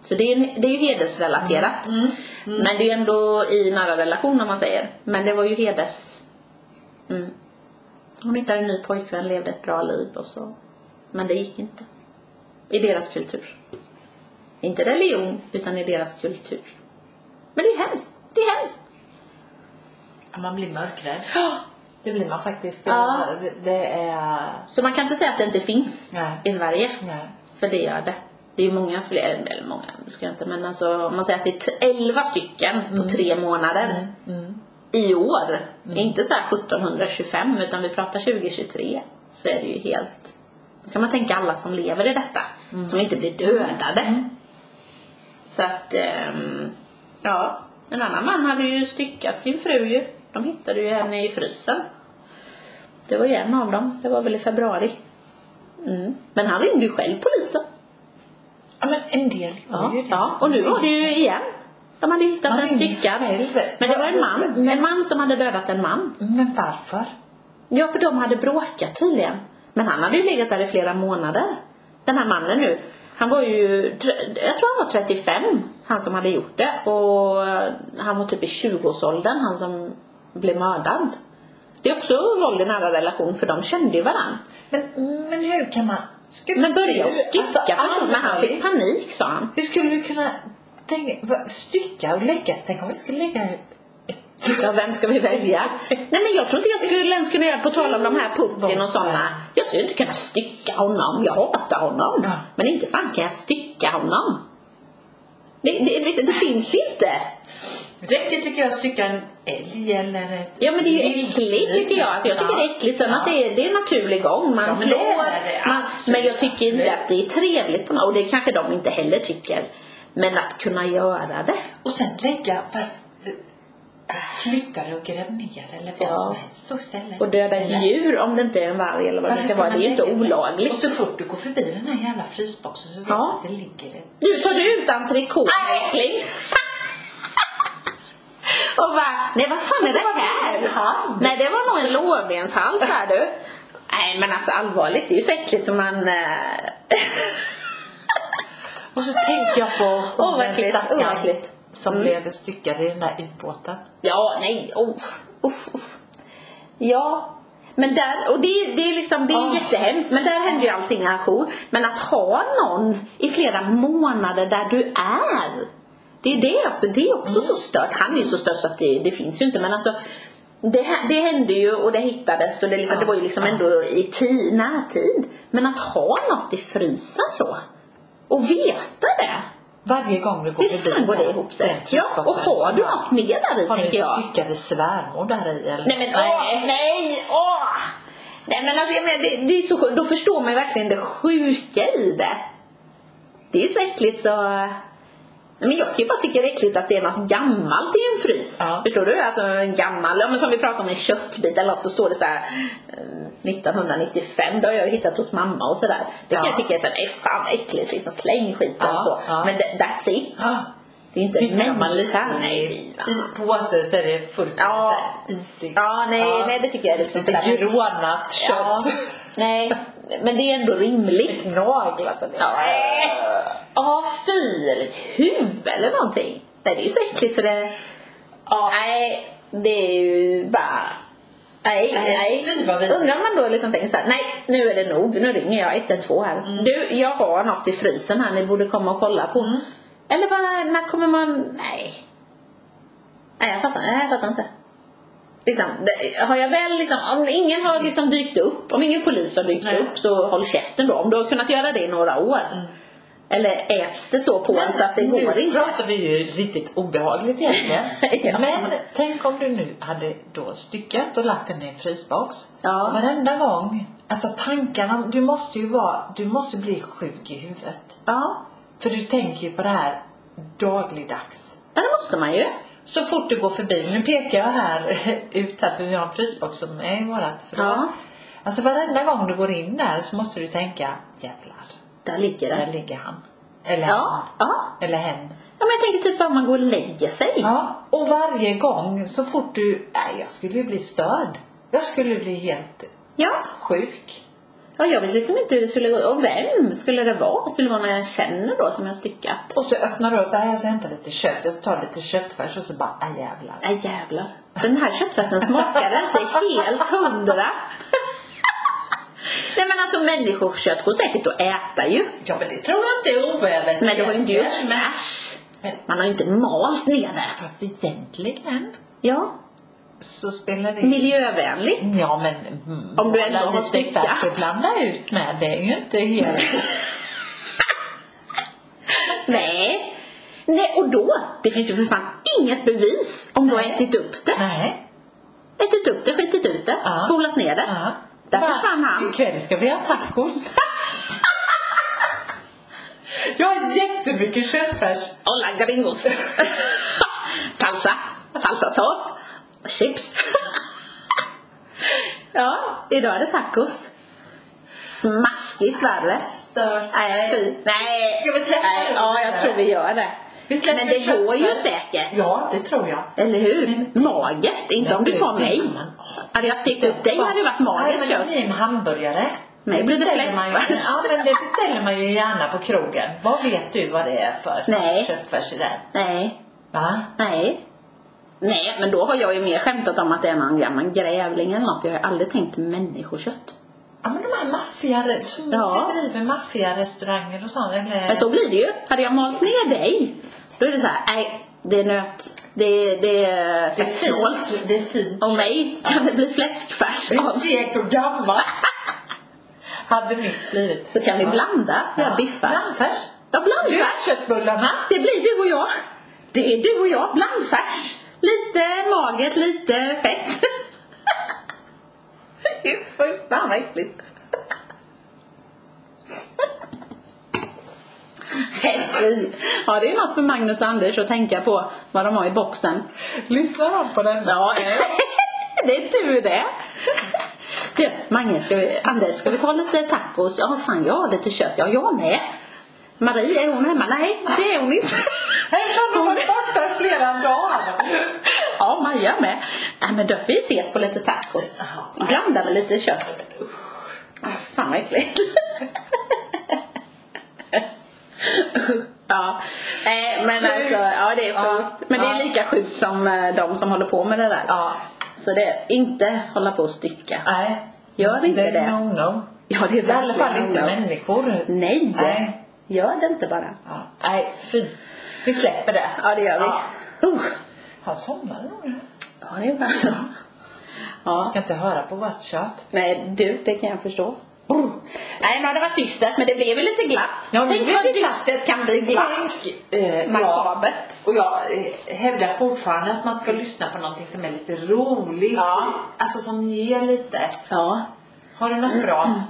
Så det är, ju- det är ju hedersrelaterat. Men det är ju ändå i nära relation om man säger. Men det var ju heders... Mm. Hon hittade en ny pojkvän, levde ett bra liv och så. Men det gick inte. I deras kultur. Inte religion, utan i deras kultur. Men det är ju hemskt. Det är hemskt.
Ja, Man blir mörkrädd. Det blir man faktiskt.
Ja.
Det- Det är...
Så man kan inte säga att det inte finns
Nej.
i Sverige.
Nej.
För det gör det. Det är ju många fler, eller många nu ska jag inte men alltså om man säger att det är t- 11 stycken på tre månader i år. Inte så här 1725 utan vi pratar 2023. Så är det ju helt... Då kan man tänka alla som lever i detta. Som inte blir dödade. Så att, ehm, ja. En annan man hade ju styckat sin fru ju. De hittade ju henne i frysen. Det var ju en av dem. Det var väl i februari. Mm. Men han ringde ju själv polisen.
Ja, men en del gör
Ja,
ju det.
ja. Och nu var det ju igen. De hade ju hittat
Man
en
ringer
styckad.
själv.
Men det var en man. En man som hade dödat en man.
Men varför?
Ja, för de hade bråkat tydligen. Men han hade ju legat där i flera månader. Den här mannen nu. Han var ju, tr- jag tror han var 35, han som hade gjort det. Och han var typ i 20-årsåldern, han som blev mördad. Det är också våld i nära relation, för de kände ju varandra.
Men, men hur kan man... Skulle
Men började
du-
stycka
alltså,
alltså, men han
allvarligt,
fick panik sa han.
Hur skulle du kunna tänka, vad- stycka och lägga? Tänk om vi skulle lägga ett...
Ja, vem ska vi välja? Nej men jag tror inte jag skulle ens kunna göra, på tal om de här pucken och sådana. Jag skulle inte kunna stycka honom. Jag hatar honom.
Ja.
Men inte fan kan jag stycka honom. Det, det, det, det finns inte.
Räcker tycker jag stycka en älg eller ett
Ja men det är ju
vildsvin.
äckligt tycker jag. Alltså, jag tycker det är äckligt. Sen
Ja.
att det är, det är en naturlig gång. Man
Ja, men det
slår.
är det,
man,
absolut,
men jag tycker inte
absolut.
att det är trevligt på något. Och det kanske de inte heller tycker. Men att kunna göra det.
Och sen lägga, fast, eh, flytta det och gräv ner eller vad
Ja.
som helst och ställa
Och döda
Eller-
ett djur om det inte är en varg eller vad det
Varför
ska
ska
vara. Det
man
är ju inte
lägga sig?
olagligt.
Och så fort du går förbi den här jävla frysboxen så vet
Ja.
du att det ligger ett
Du tar du ut entrecote älskling. Och bara, nej Alltså, vad fan är det här?
hand.
Nej det var nog en lårbenshals här du. Nej men alltså allvarligt, det är ju så äckligt som man... eh,
Och så tänker jag på
Åh, vad äckligt,
stackaren
åh, vad äckligt.
som
Mm.
blev styckad i den där ubåten.
ja, nej, oh, oh, oh. Ja. Men där, och det, är- det är liksom, det är
Åh.
jättehemskt men där händer ju allting ajour. Men att ha någon i flera månader där du är. Det är det alltså, det är också så
Mm.
stört. Han är ju så stört så att det, det finns ju inte men alltså det, hä- det hände ju och det hittades och det, liksom,
Ja.
det var ju liksom
Ja.
ändå i ti, närtid. Men att ha något i frysen så. Och veta det.
Varje gång du går
Hur
förbi
fan går det
den-
ihop sig?
den
Ja, och
frysboxen
har
så
du
bara-
något mer där i
Har du
tänker jag?
styckade svärmor där i eller?
Nej men åh, nej, åh! Nej men alltså jag menar, det, det är så sjukt. Då förstår man ju verkligen det sjuka i det. Det är ju så äckligt så... Nej, men jag kan ju bara tycka det är äckligt att det är något gammalt i en frys.
Ja.
Förstår du? Alltså en gammal, ja, men som vi pratade om en köttbit eller något, så står det så här eh, 1995, det har jag ju hittat hos mamma och sådär. Det kan
Ja.
jag tycka är såhär, nej fan vad äckligt liksom, släng skiten
Ja,
så.
ja.
Men det- that's it.
Ah,
Det är inte en
tittar man lite
människa.
i,
Nej, fy fan.
i påsen så är det fullt med
Ja.
så här isigt.
Ja, nej, nej det tycker jag är liksom
Lite
sådär.
grånat kött.
Ja, nej, men det är ändå rimligt.
Gnagel alltså. det-
Ja, ja fy, eller ett huvud eller någonting. Nej, det är ju så äckligt så det...
Ja.
Nej, det är ju bara... Nej,
Nej,
nej.
fy vad vidrigt.
Undrar om man då liksom tänker så här, nej nu är det nog, nu ringer jag 112 här.
Mm.
Du, jag har något i frysen här, ni borde komma och kolla på. Eller bara, när kommer man, nej. Nej jag fattar, nej, jag fattar inte. Liksom, det, har jag väl liksom, om ingen har liksom dykt upp, om ingen polis har dykt
Nej. Mm.
upp så håll käften då. Om du har kunnat göra det i några år. Eller äts det så på en så att det går
Nu
inte.
pratar vi ju riktigt obehagligt egentligen.
Ja.
Men tänk om du nu hade då styckat och lagt den i en frysbox.
Ja.
Varenda gång. Alltså tankarna, du måste ju vara, du måste bli sjuk i huvudet.
Ja,
För du tänker ju på det här dagligdags.
Ja, det måste man ju.
Så fort du går förbi, nu pekar jag här ut här för vi har en frysbox som är i vårat förråd.
Ja.
Alltså varenda gång du går in där så måste du tänka, jävlar,
Där ligger
där
det.
ligger han. Eller
Ja, ja.
han. Eller hen.
Ja, men jag tänker typ bara man går och lägger sig.
Ja, och varje gång så fort du... Nej, jag skulle ju bli störd. Jag skulle bli helt
Ja.
sjuk.
Och jag vet liksom inte hur det skulle gå. Och vem skulle det vara? Skulle det vara någon jag känner då som jag styckat?
Och så öppnar du upp, nej jag ska hämta lite kött, jag tar lite köttfärs och så bara, aj jävlar.
Nej Äh, jävlar. Den här köttfärsen smakade inte helt hundra. Nej men alltså människokött går säkert att äta ju.
Ja men det tror jag inte är oävet.
Men det har ju inte gjort färs.
Men-
Man har ju inte malt ner det.
Fast egentligen
Ja,
så spelar det
miljövänligt.
Ja men mm,
Om du ändå
hålla
har
lite
styckat.
färs och blanda ut med, det är ju inte helt...
Nej. Nej och då, det finns ju för fan inget bevis om du har
Nej.
ätit upp det.
nej.
Ätit upp det, skitit ut det,
Ja.
spolat ner det.
Ja.
Där
Va?
försvann han.
Ikväll ska vi ha tacos. Jag har jättemycket köttfärs.
Hola gringos! salsa, salsasås, och chips. ja, idag är det tacos. Smaskigt värre.
Stört.
Nej, fy. Nej.
Ska vi släppa
Nej,
det?
Ja, jag tror vi gör det.
Vi släpper
Men det går ju
köttfärs.
säkert.
Ja, det tror jag.
Eller hur? Magert. Inte om du tar
det-
mig.
man- åh.
Hade jag stekt upp dig hade det varit
Nej,
magert
men det
kött.
blir en hamburgare.
Nej, blir det
beställer man ju-
fläskfärs?
Ja, men det beställer man ju gärna på krogen. Vad vet du vad det är för
Nej.
köttfärs i den?
Nej,
Va?
nej. Nej, men då har jag ju mer skämtat om att det är någon gammal grävling eller något. Jag har ju aldrig tänkt människokött.
Ja, men de här maffia, som
Ja.
bedriver maffiarestauranger och sånt. Eller...
Men så blir det ju. Hade jag malt ner dig, då är det så här, nej, det är nöt. Det är, det är
det är
fettsnålt.
fint. Det är fint.
Och mig kan det bli fläskfärs
Det är
av.
segt och gammalt. Hade mitt blivit.
Då kan vi blanda,
Ja.
göra biffar.
Blandfärs.
Ja, blandfärs.
Köttbullarna.
Det blir du och jag. Det är du och jag, blandfärs. Lite magert, lite fett. Fy fan vad äckligt. Nej, fy. Ja, det är något för Magnus och Anders att tänka på vad de har i boxen.
Lyssnar de på den?
Ja, det är tur det. Du, Mange, ska vi, Anders, ska vi ta lite tacos? Ja, fan, jag har lite kött. Ja, jag med. Marie, är hon hemma? Nej, det är hon inte.
Hon har varit borta i flera dagar.
Ja, Maja med. Nej, men då, vi ses på lite tacos.
Jaha.
Blanda med lite kött. Ah, fan vad äckligt. Ja, eh, men
Sjukt.
alltså, ja det är
Ja,
sjukt. Men det
ja.
är lika sjukt som eh, de som håller på med det där.
Ja.
Så det, inte hålla på och stycka.
Nej.
Gör inte
Det är
det.
no-no.
Ja, det
I alla fall
verkligen Mm.
inte
no.
människor.
Nej.
Nej.
Gör det inte bara.
Ja. Nej, fy. Vi släpper det.
Ja, det gör vi.
Ja.
Uh.
Han somnar nog.
Ja, det är bra. Ja.
Jag kan inte höra på vårt kött.
Nej, du, det kan jag förstå. Nej, men det var dystert, men det blev väl lite glatt.
Ja, det
Tänk
blev
vad
glatt.
dystert kan bli glatt.
eh,
Makabert.
Och jag eh, hävdar fortfarande att man ska lyssna på någonting som är lite roligt.
Ja.
Alltså som ger lite.
Ja.
Har du något bra?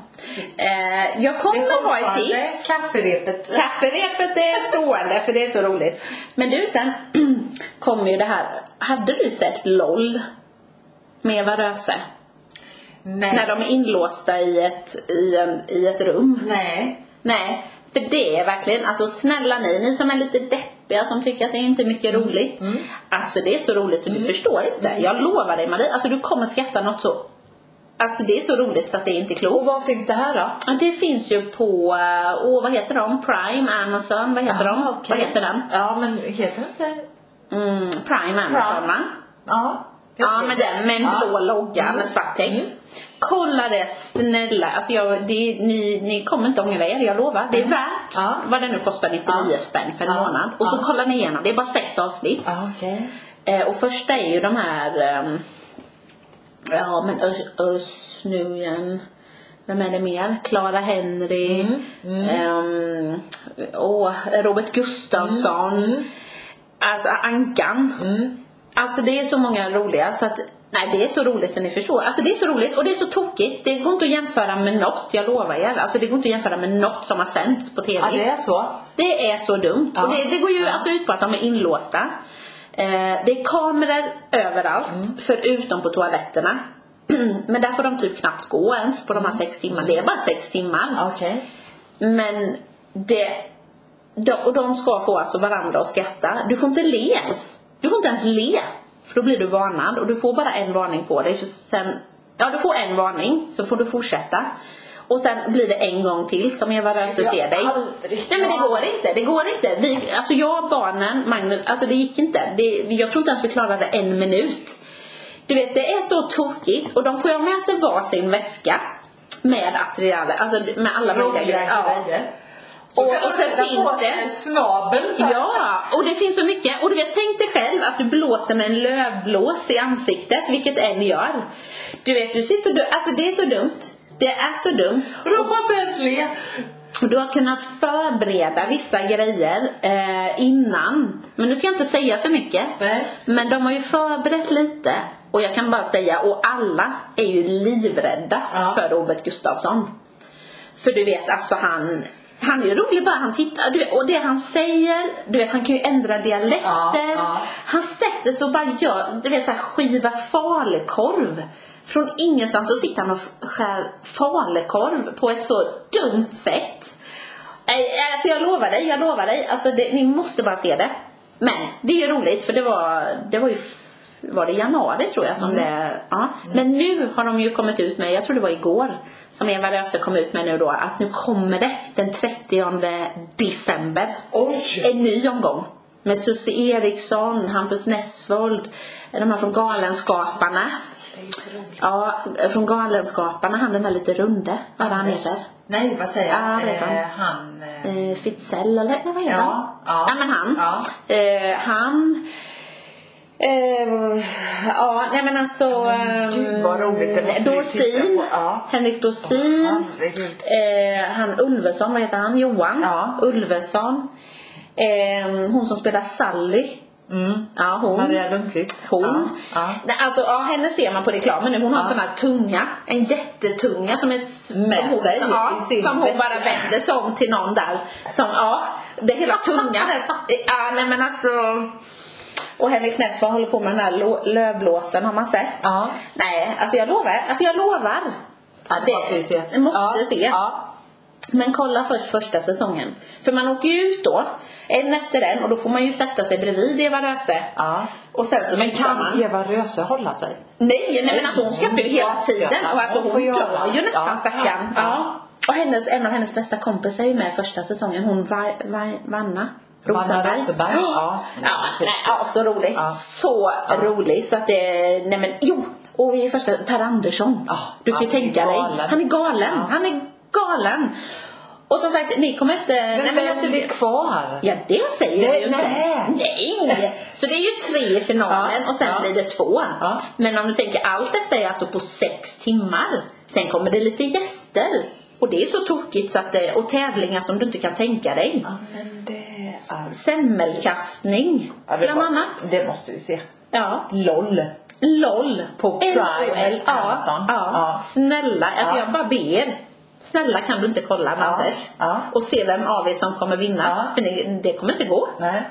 Eh, jag Mm. kommer ha ett
fortfarande
tips.
Kafferepet.
Kafferepet är stående för det är så roligt. Men du sen kommer ju det här. Hade du sett LOL med Eva Röse?
Nej.
När de är inlåsta i ett, i, en, i ett rum.
Nej.
Nej, för det är verkligen, alltså snälla ni, ni som är lite deppiga som tycker att det är inte är mycket roligt. Alltså det är så roligt så du förstår inte. Jag lovar dig Marie, alltså du kommer skratta något så, alltså det är så roligt så att det är inte klokt.
Och vad finns det här då?
Ja, Det finns ju på, eh, åh vad heter de? Prime, Amazon, vad heter de?
Ah, okej.
Vad heter den?
Ja men heter det inte?
Mm, Prime, Amazon
Prime.
va?
Ja.
Ja men den med en
Ja.
blå logga
Mm.
med svart text. Kolla det snälla. Alltså jag, det, ni, ni kommer inte ångra er, jag lovar. Det är värt
Mm. Ja.
vad det nu kostar 99
Ja.
spänn för en
Ja.
månad. Och så
Ja.
kollar ni igenom. Det är bara sex avsnitt.
Ja, okej.
Eh, och första är ju de här ehm, Ja men Ös- Ös nu igen. Vem är det mer? Clara Henry.
Mm,
ehm, åh, Robert Gustafsson. Alltså Ankan.
Mm.
Alltså det är så många roliga så att Nej det är så roligt så ni förstår. Alltså det är så roligt och det är så tokigt. Det går inte att jämföra med något, jag lovar er. Alltså det går inte att jämföra med något som har sänts på TV.
Ja, det är så.
Det är så dumt.
Ja.
Och det, det går ju alltså ut på att de är inlåsta. Eh, det är kameror överallt, förutom på toaletterna. Men där får de typ knappt gå ens på de här sex timmarna. Det är bara sex timmar.
Okej.
Men det... De, och de ska få alltså varandra att skratta. Du får inte le ens. Du får inte ens le. För då blir du varnad och du får bara en varning på dig. För sen, ja, du får en varning, så får du fortsätta. Och sen blir det en gång till som Eva Röse
jag
ser dig.
aldrig
Nej men det
klara
går inte, det går inte. Vi, alltså jag, barnen, Magnus, alltså det gick inte. Det, jag tror inte ens vi klarade en minut. Du vet det är så tokigt och de får ju ha med sig varsin väska. Med attiraljer, alltså med alla möjliga grejer. Ja. Och, och sen finns det
snabel
Ja, och det finns så mycket. Och du vet, tänk dig själv att du blåser med en lövblås i ansiktet, vilket en gör. Du vet, du ser så du, alltså det är så dumt. Det är så dumt.
Och de får inte ens le.
Och Du har kunnat förbereda vissa grejer eh, innan. Men nu ska jag inte säga för mycket.
Nej.
Men de har ju förberett lite. Och jag kan bara säga, och alla är ju livrädda
Ja.
för Robert Gustafsson. För du vet, alltså han, han är ju rolig bara han tittar. Du vet, och det han säger, du vet han kan ju ändra dialekter.
Ja, ja.
Han sätter sig och bara gör, du vet såhär skiva falukorv. Från ingenstans så sitter han och skär falukorv på ett så dumt sätt. Nej, Alltså jag lovar dig, jag lovar dig. Alltså det, ni måste bara se det. Men det är ju roligt för det var, det var ju f- var det i januari tror jag som det, ja. Men nu har de ju kommit ut med, jag tror det var igår, som Eva Röse kom ut med nu då, att nu kommer det den 30 december
Oj!
en ny omgång. Med Susie Eriksson, Hampus Nessvold, de här från Galenskaparna. Ja, från Galenskaparna, han den där lite runde, vad är det han heter?
Nej, vad säger jag?
Ja, det är han.
Eh, han. eh,
Eh, Fitzell eller nej, vad heter
Ja,
han?
ja.
men han.
Ja.
Eh, han. Eh, ja, nej men alltså.
gud, vad roligt, det måste vi titta
Dorsin.
på. Ja.
Henrik Dorsin.
herregud.
eh, han Ulveson, vad heter han? Johan
Ja.
Ulveson. Eh, hon som spelar Sally.
Mm.
Ja, hon.
Maria Lundqvist.
Hon.
Ja.
Nej, alltså, ja, henne ser man på reklamen nu. Hon har
Ja.
sån här tunga. En jättetunga som är s-
Med
som hon,
sig
ja,
i sin
Som hon
väska.
bara vänder sig om till någon där. Som, ja, det är hela tungan. är- Ja, nej men alltså. Och Henrik Nessvold håller på med den här lo- lövblåsen har man sett.
Ja.
Nej, alltså jag lovar. Alltså jag lovar.
ja. Det måste vi se.
Det måste
ja.
se.
Ja.
Men kolla först första säsongen. För man åker ju ut då, en efter en och då får man ju sätta sig bredvid Eva Röse.
ja.
Och sen så
Men
tittar man.
kan Eva Röse hålla sig?
Nej, nej men alltså hon skrattar ju hela tiden och alltså
Hon
hon
får
dör
göra.
ju nästan
Ja,
stackarn.
ja,
Ja. Och hennes, en av hennes bästa kompisar är ju med första säsongen, hon Va- Va- Vanna Rosenberg.
Rosenberg, ja.
ja, nej, ja, så rolig.
Ja.
Så
Ja.
rolig så att det, nej men jo! Och i första, Per Andersson.
Ja,
du kan ju
han är
tänka dig.
galen.
Han är galen.
Ja.
Han är galen. Och som sagt, ni kommer inte...
Men
men alltså,
vem blir kvar?
Ja, det säger
Nej,
vi ju inte.
nej.
Nej! Så det är ju tre i finalen
Ja,
och sen
ja.
blir det två.
Ja.
Men om du tänker, allt detta är alltså på sex timmar. Sen kommer det lite gäster. Och det är så tokigt så att, det- och tävlingar som du inte kan tänka dig.
Ja, men det är...
Semmelkastning,
Ja, det
bland
var-
annat.
Det måste vi se.
Ja.
LOL.
LOL.
På
LOL.
Prime,
Ja.
Amazon.
Ja.
Ja.
Snälla, alltså
Ja.
jag bara ber. Snälla kan du inte kolla med
Ja.
Anders?
Ja.
Och se vem av er som kommer vinna.
Ja.
För ni, det kommer inte gå.
Nej.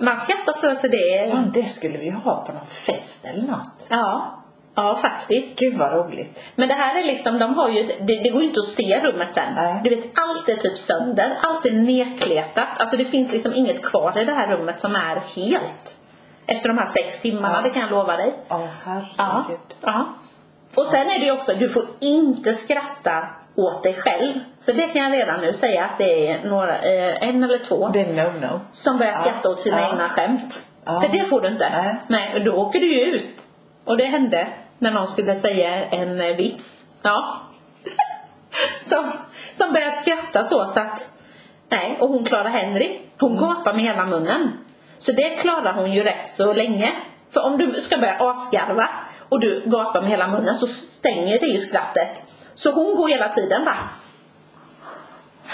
Man skrattar så att det är...
Fan, det skulle vi ha på någon fest eller något.
Ja. Ja, faktiskt.
Gud vad roligt.
Men det här är liksom, de har ju, ett- det, det går ju inte att se rummet sen.
Nej.
Du vet, allt är typ sönder, allt är nedkletat. Alltså det finns liksom inget kvar i det här rummet som är helt. Efter de här sex timmarna,
Ja.
det kan jag lova dig.
Ja, herregud.
ja. Och sen är det ju också, du får inte skratta åt dig själv. Så det kan jag redan nu säga att det är några, eh, en eller två
Det är no-no.
som börjar
Ja.
skratta åt sina
Ja.
egna skämt.
Ja.
För det får du inte.
Nej.
Nej, och då åker du ju ut. Och det hände när någon skulle säga en eh, vits. Ja. som, som började skratta så, så att... Nej, och hon Clara Henry, hon gapar med hela munnen. Så det klarar hon ju rätt så länge. För om du ska börja asgarva och du gapar med hela munnen så stänger det ju skrattet. Så hon går hela tiden bara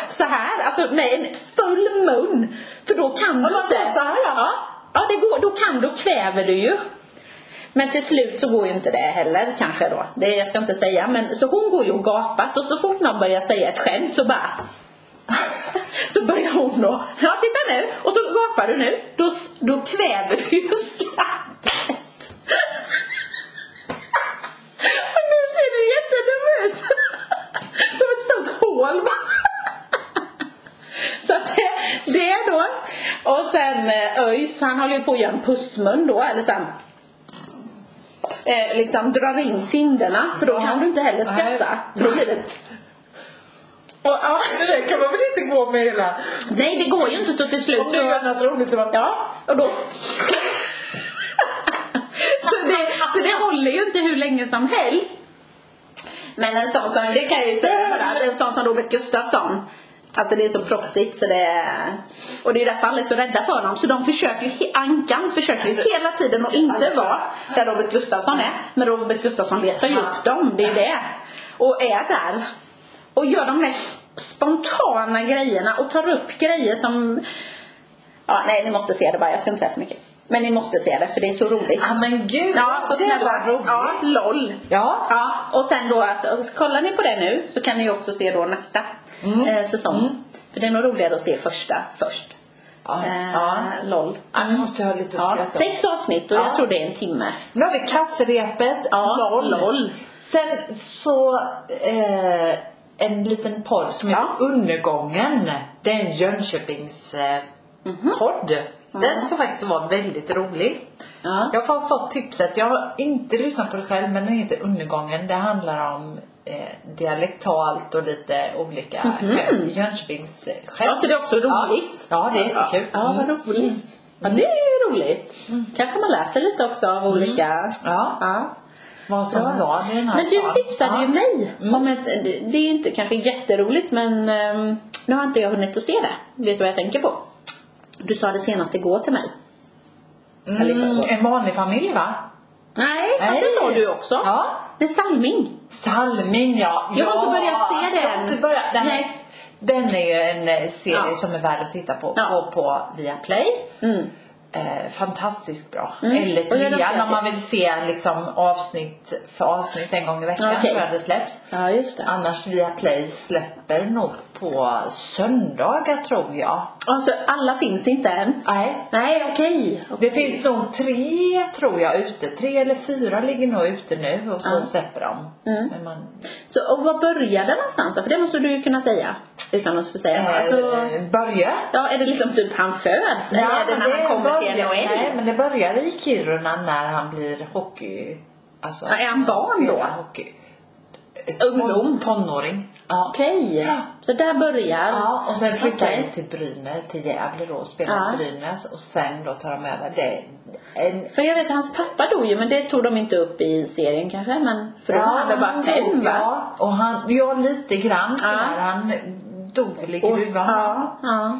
så här, alltså med en full mun. För då kan du inte. Så här, ja, ja det går, då kan du, kväver du ju. Men till slut så går ju inte det heller kanske då. Det jag ska inte säga men så hon går ju och gapar så så fort någon börjar säga ett skämt så bara så börjar hon då. Ja titta nu och så gapar du nu. Då, s- då kväver du ju skrattet. Och nu ser du jättedum ut. Det var ett sånt hål bara. Så att det, det är då. Och sen eh, ÖIS, han håller ju på att göra en pussmun då, eller sen eh, liksom drar in kinderna för då
Ja.
kan du inte heller skratta.
Nej.
För då blir det... Och, ja,
Det kan man väl inte gå med hela...
nej, det går ju inte så till slut.
Om
så-
det är annat roligt så bara...
Ja, och då... så, det, så det håller ju inte hur länge som helst. Men en sån som, det kan jag ju säga bara, att en sån som Robert Gustafsson Alltså det är så proffsigt så det är, Och det är därför alla är så rädda för honom. Så de försöker ju, he- Ankan försöker ju hela tiden att inte vara där Robert Gustafsson är. Men Robert Gustafsson letar ju upp dem, det är det. Och är där. Och gör de mest spontana grejerna och tar upp grejer som Ja, nej, ni måste se det bara. Jag ska inte säga för mycket. Men ni måste se det, för det är så roligt.
Ah, men gud!
Ja, så
det
snälla.
var roligt.
Ja, LOL.
Ja.
Ja, och sen då att, och kollar ni på det nu så kan ni också se då nästa
Mm.
eh, säsong. För det är nog roligare att se första först.
Ja,
Eh,
ja.
LOL.
Ja, nu måste jag ha lite att
Ja,
skratta åt.
sex avsnitt och
Ja.
jag tror det är en timme.
Nu har vi kafferepet,
Ja,
LOL.
LOL.
Sen så eh, en liten podd som heter
Ja.
Undergången. Det är en Jönköpings eh,
Mm-hmm.
podd. Den ska faktiskt vara väldigt rolig.
Ja.
Jag har fått tipset, jag har inte lyssnat på det själv men den heter Undergången. Det handlar om eh, dialektalt och lite olika mm Jönköpings eh, skämt.
Ja, så Mm-hmm. det är också roligt.
Ja, ja det är jättekul.
Ja, ja vad
Mm.
roligt. Ja, det är ju roligt. Kanske man läser lite också av olika...
Mm. Ja,
Ja.
vad som
Ja. Mm.
var det i den här
Men du
stan.
tipsade
ja.
ju mig om ett, det är ju inte kanske jätteroligt men ehm, nu har inte jag hunnit att se det. Vet du vad jag tänker på? Du sa det senast igår till mig. Eller i
Mm,
förrgår.
en vanlig familj va?
Nej, fast
Nej.
det sa du också.
Ja.
Det är Salming.
Salmin ja.
Jag har
ja.
inte börjat se
Jag har
den.
inte börjat. Den,
Nej.
den är ju en eh, serie
Ja.
som är värd att titta på.
Ja.
På, på Viaplay.
Mm.
Eh, fantastiskt bra.
Mm.
Eller
Och det är den
trean
jag
om man vill se liksom, avsnitt för avsnitt en gång i veckan
Okej.
tror jag det släpps.
Ja, just det.
Annars Viaplay släpper nog på söndagar tror jag.
Alltså, alla finns inte än.
Nej.
Nej, okej.
Det finns nog tre tror jag ute. Tre eller fyra ligger nog ute nu och sen
Ja.
släpper de.
Mm.
Men man,
Så, och var började någonstans då? För det måste du ju kunna säga. Utan att få säga.
eh,
Alltså,
Börje.
ja, är det liksom typ han föds? Eller är det när han kommer till
börjar- Nej,
NHL?
men det börjar i Kiruna när han blir hockey... Alltså,
Ja, är han barn då?
spelar Hockey.
Ungdom?
Ton, tonåring. Ja.
Okej.
Ja.
Så där börjar...
ja. Och sen flyttar
Okej.
han till Brynäs, till Gävle då och spelar
Ja.
i Brynäs. Och sen då tar de över. Det är en
För jag vet hans pappa dog ju men det tog de inte upp i serien kanske men för då var det bara
han
fem
dog,
va?
Ja, och han, ja lite grann
Ja.
sådär. Han dog väl i
Och-
gruvan.
ja, ja.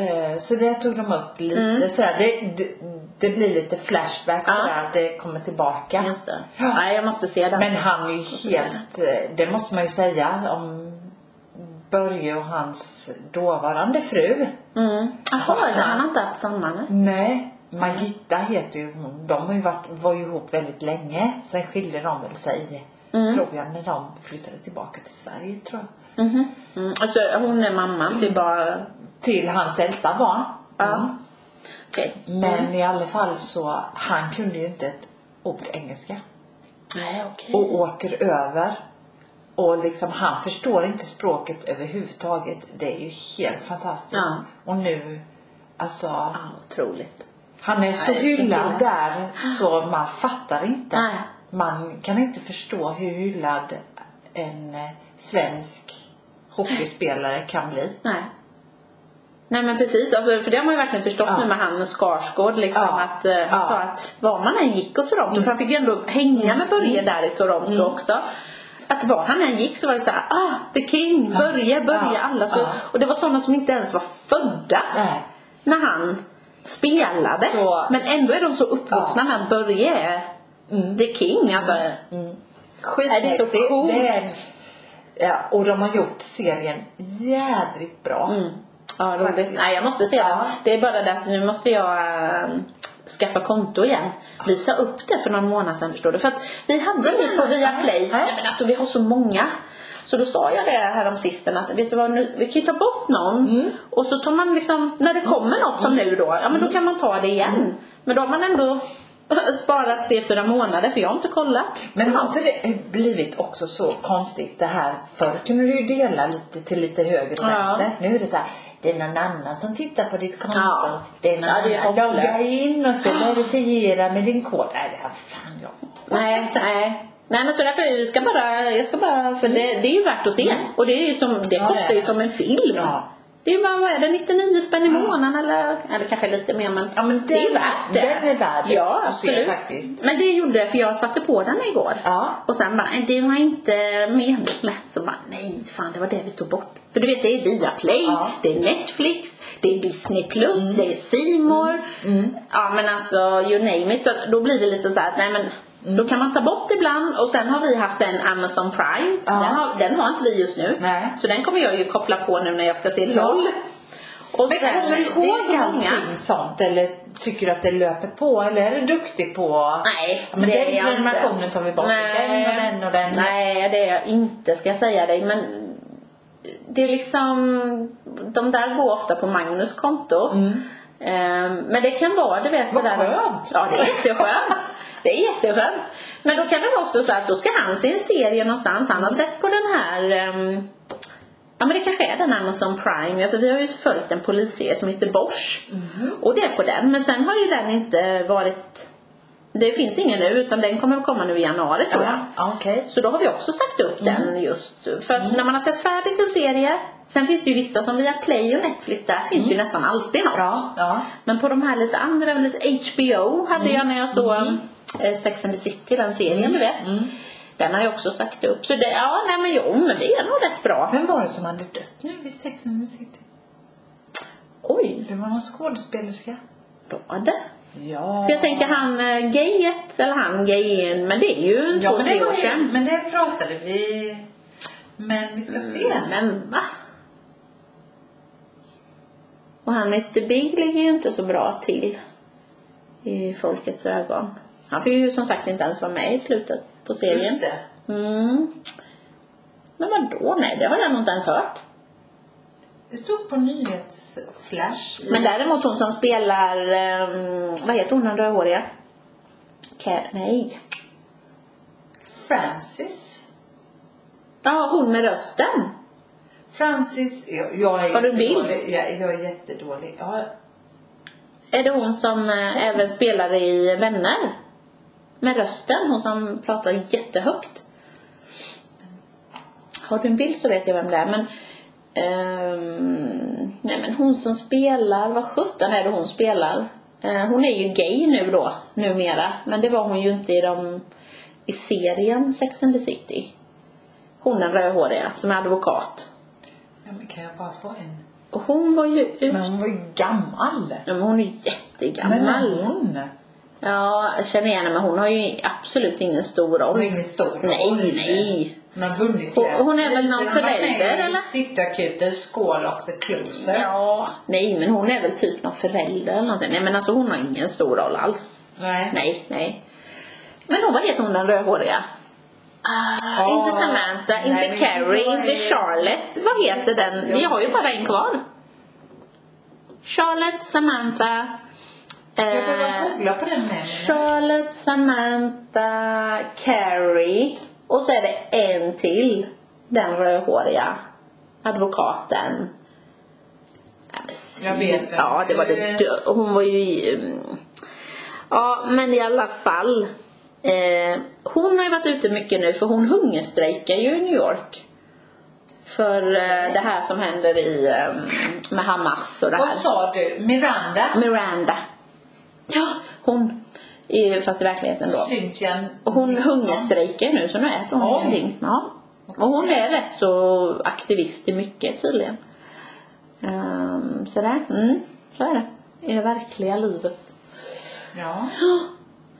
Eh, Så det tog de upp lite sådär. Det, det, det blir lite flashback
Mm. Ja.
sådär att det kommer tillbaka.
just det.
Ja.
Nej jag måste se den.
Men han är ju helt, eh, det måste man ju säga om Börje och hans dåvarande fru.
Mm. Jaha,
Alltså,
han har inte haft samma nej.
Nej, Margitta heter ju hon. De har ju varit, var ju ihop väldigt länge. Sen skilde de väl sig,
Mm.
tror jag, när de flyttade tillbaka till Sverige tror jag.
Mhm. Mm. Alltså hon är mamman till bara...
Till hans äldsta barn.
Ja.
Mm.
Okej. Mm.
Men i alla fall så, han kunde ju inte ett ord engelska.
Nej okej.
och åker över. Och liksom han förstår inte språket överhuvudtaget. Det är ju helt fantastiskt.
Ja.
Och nu, alltså.
Ja, otroligt.
Han är så
Nej,
hyllad
vilken kille.
där så man fattar inte.
Nej.
Man kan inte förstå hur hyllad en eh, svensk hockeyspelare kan bli.
Nej. Nej men precis, alltså, för det har man ju verkligen förstått
Ja.
nu med han Skarsgård liksom
Ja.
att eh, han
Ja. Mm.
sa att var man än gick och Toronto, för han fick ju ändå hänga med Börje där i Toronto också. Att var han än gick så var det såhär, ah, the king, Börje, Börje,
Ja.
alla så.
Ja.
Och det var sådana som inte ens var födda
Nej.
när han spelade.
Så-
Men ändå är de så uppvuxna med Börje är
Mm.
the king alltså.
Skithäftigt.
Det är så coolt.
Det är- Ja, och de har gjort serien jädrigt bra.
Mm. Ja, roligt.
Faktiskt.
Nej, jag måste se
Ja.
den. Det är bara det att nu måste jag äh, skaffa konto igen. Vi sa upp det för någon månad sedan förstår du. För att vi hade det på Viaplay.
Ja.
Nej, men alltså vi har så många. Så då sa jag det här om sisten att vet du vad, nu, vi kan ju ta bort någon
Mm.
och så tar man liksom, när det kommer något som nu då, ja men då kan man ta det igen.
Mm.
Men då har man ändå sparat tre fyra månader för jag har inte kollat.
Men har inte det blivit också så konstigt det här? Förr kunde du ju dela lite till lite höger och
Ja.
vänster. Nu är det så här. Det är någon annan som tittar på ditt konto.
Ja.
Det är någon
Ja, det är
annan.
hopplöst.
Logga in och så verifiera med din kod. Nej, det här fan jag.
Nej, nej. Nej men så därför, jag ska bara, jag ska bara för det, det är ju värt att se. Och det, är ju som, det
Mm. Ja,
kostar
det är
ju
det.
som en film.
Ja.
Det är ju bara, vad är det, 99 spänn i månaden eller? Eller kanske lite mer men,
Ja, men
det är ju
den-
värt det.
den är värd
ja,
att se
absolut.
faktiskt.
Men det gjorde jag för jag satte på den igår.
Ja.
Och sen bara, "Nej, det var inte medlem. Så bara, nej fan det var det vi tog bort. För du vet det är Viaplay,
Ja. Mm.
det är Netflix, det är Disney plus, det är C More. Ja men alltså you name it. Så att då blir det lite så här, att, nej men
Mm.
då kan man ta bort ibland och sen har vi haft en Amazon Prime.
Ja.
Den, har, den har inte vi just nu.
Nej.
Så den kommer jag ju koppla på nu när jag ska se
Ja.
LOL. Och
Men
sen,
kommer du
det är så
ihåg
många.
allting sånt? Eller tycker du att det löper på? Eller är du duktig på?
Nej,
Ja, men
det
den
är jag
prenumerationen
inte.
tar vi bort.
Nej.
Den och den och den.
Nej, det är jag inte ska jag säga dig. Men det är liksom, de där går ofta på Magnus konto. Ehm, men det kan vara du vet
Mm. Vad
sådär.
skönt.
Ja, det är jätteskönt. det är jätteskönt. Men då kan det vara också så att då ska han se en serie någonstans. Han har sett på den här ehm, Ja men det kanske är den Amazon Prime, ja, för vi har ju följt en polisserie som heter Bosch.
Mhm.
Och det är på den, men sen har ju den inte varit Det finns ingen nu utan den kommer att komma nu i januari tror jag.
Ja, Mm. Okej.
Så då har vi också sagt upp den just för att när man har sett färdigt en serie Sen finns det ju vissa som via Play och Netflix, där finns det ju nästan alltid något.
Mm. Ja, ja.
Men på de här lite andra, lite HBO hade jag
Mm.
när jag såg eh, Sex and the City, den serien du vet.
Mm.
Den har jag också sagt upp. Så det, ja, nej men jo, men vi är nog rätt bra.
Vem var det som hade dött nu vid Sex and the City?
Oj,
Det var någon skådespelerska.
var det?
Ja.
För jag tänker han eh, gayet, eller han gayen, men det är ju
ja,
två,
men
tre
det
år
var ju-
sedan.
Men det pratade vi... Men vi ska se.
Men va? Och han Mr Big ligger ju inte så bra till i folkets ögon. Han fick ju som sagt inte ens vara med i slutet på serien.
Just det.
Mm. Men vadå? Nej, det har jag nog inte ens hört.
Det stod på nyhetsflash. i-
Men däremot hon som spelar, ehm, vad heter hon den rödhåriga? Car- nej.
Francis.
Ja, hon med rösten.
Francis, jag, jag är
Har du en bild?
jättedålig. Jag, jag är jättedålig. Jag har,
Är det hon som eh, även spelar i Vänner? Med rösten, hon som pratar jättehögt. Har du en bild så vet jag vem det är men ehm, Nej men hon som spelar, vad sjutton är det hon spelar? Eh, hon är ju gay nu då, numera. Men det var hon ju inte i de i serien Sex and the City. Hon den rödhåriga som är advokat.
ja, men kan jag bara få en?
Och hon var ju ut...
Men hon var ju gammal.
Ja, Men hon är ju jättegammal.
Men hon?
Ja, jag känner igen henne men hon har ju absolut ingen stor roll.
Hon är ingen stor roll.
Nej, nej.
Hon har vunnit
Hon-
flera
hon är väl
priser.
någon
Hon har varit
förälder,
med i
eller?
Cityakuten, Skål och The Closer.
Ja. Nej, men hon är väl typ någon förälder eller någonting. Nej men alltså hon har ingen stor roll alls.
Nej.
Nej, nej. Men hon, vad heter hon den rödhåriga? Ah,
Ja.
Inte Samantha, inte
Nej, men
Carrie,
jag
inte
är-
Charlotte. Vad heter den? Vi har ju bara en kvar. Charlotte, Samantha.
Så jag
eh,
behöver googla på den här.
Charlotte, Samantha, Carrie och så är det en till. Den rödhåriga advokaten. Nej, men
Jag vet vem.
Ja, det var det. dö- Hon var ju i, mm. Ja, men i alla fall. Eh, hon har ju varit ute mycket nu för hon hungerstrejkar ju i New York. För eh, det här som händer i, eh, med Hamas och det
Vad
här.
sa du? Miranda?
Miranda. Ja, hon är ju fast i verkligheten då.
Cynthia
Och hon
Nixon.
hungerstrejkar nu så nu äter hon
Oj.
ingenting. Ja. Och hon är rätt så aktivist i mycket tydligen. Um, sådär. Mm, så är det. I det verkliga livet.
Ja,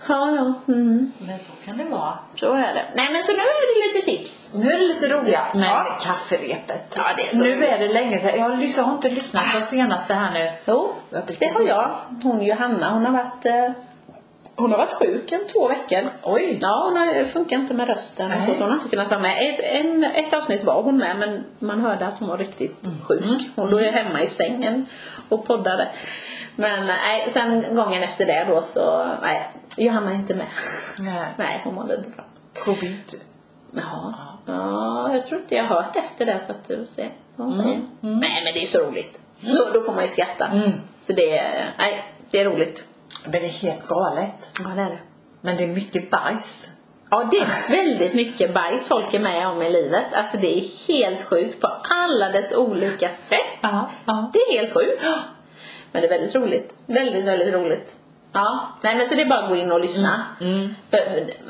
Ja, ja. Mm,
men så kan det vara.
så är det. Nej men så nu är det lite tips.
Nu är det lite roligare.
Men-
ja. kafferepet.
Ja, det är så Ah.
nu är det länge sedan. Jag har lyssnat- har inte lyssnat på senaste här nu.
Jo,
Jag tycker
det har
det.
jag. Hon Johanna, hon har varit eh, hon har varit sjuk en två veckor.
Oj!
Ja, hon har, funkar inte med rösten.
Nej.
och Så hon har inte kunnat vara med. Ett, en, ett avsnitt var hon med men man hörde att hon var riktigt
Mm.
sjuk. Hon låg ju hemma i sängen och poddade. Men nej, sen gången efter det då så, nej, Johanna är inte med.
Nej.
Nej, hon mådde inte bra.
Covid.
Jaha. Ja, jag tror inte jag har hört efter det så att du ser vad hon säger. Nej, men det är så roligt. Då, då får man ju skratta.
Mm.
Så det är, nej, det är roligt.
Men det är helt galet.
Ja, det är det.
Men det är mycket bajs.
Ja, det är väldigt mycket bajs folk är med om i livet. Alltså det är helt sjukt på alla dess olika sätt.
Ja, ja.
Det är helt sjukt. Men det är väldigt roligt. Väldigt, väldigt roligt. Ja, nej men så det är bara att gå in och lyssna.
Mm.
För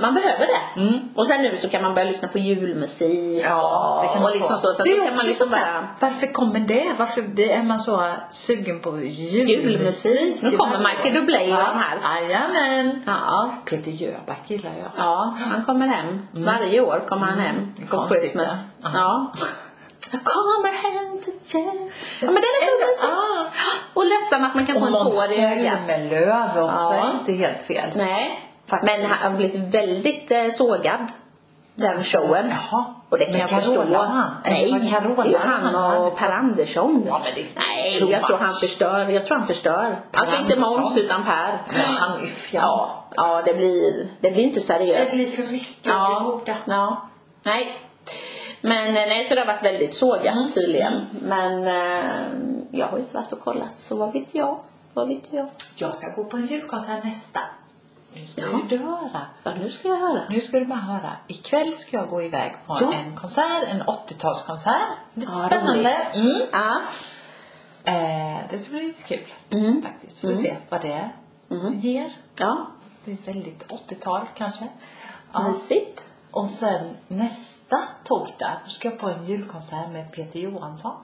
man behöver det.
Mm.
Och sen nu så kan man börja lyssna på julmusik
Ja, det kan
och
man
liksom
få.
så. Så att
Det
då
är
kan man
också
liksom
så här,
bara
Varför kommer det? Varför blir- är man så sugen på
julmusik.
julmusik?
Nu
Det
kommer
var-
Michael Dubley och
Ja.
de här.
Jajamän!
Ja,
Peter Jöback gillar jag.
Ja, han kommer hem. Varje år kommer han hem
Mm.
på
Konstigt,
Christmas.
ja.
Ja. Jag kommer hem till dig. Ja men den är så mysig.
Ja.
Och ledsen att man kan få
Och
en tår
Måns
i ögat.
Zelmerlöw också,
Ja.
är inte helt fel.
Nej.
Faktiskt.
Men han har blivit väldigt eh, sågad. Den showen.
Jaha.
Och det kan
Men
jag
Carola
förstå.
han?
Nej,
Eller var det Carola
det är ju
han
han
hade?
och Per Andersson.
Ja, men det är
Nej,
too
jag tror
much.
han förstör. Jag tror han förstör. alltså inte
Andersson.
Måns utan Per.
Men han är fjärran.
Ja, ja det, blir, det blir inte seriöst.
mycket
Ja. ja. Nej. Men eh, nej, så det har varit väldigt sågat
Mm.
tydligen. Men eh, jag har ju inte varit och kollat så vad vet jag? Vad vet jag?
Jag ska gå på en julkonsert nästa. Nu ska
Jaha.
du höra.
Ja, nu ska jag höra.
Nu ska du bara höra. Ikväll ska jag gå iväg på
Ja.
en konsert, en 80-talskonsert. Lite
Ja,
spännande. Mm.
Ja.
Eh, det ska bli lite kul
Mm.
faktiskt. Får vi se vad det ger.
Ja,
Det blir väldigt 80-tal kanske. Ja.
mysigt.
Och sen nästa torsdag då ska jag på en julkonsert med Peter Johansson.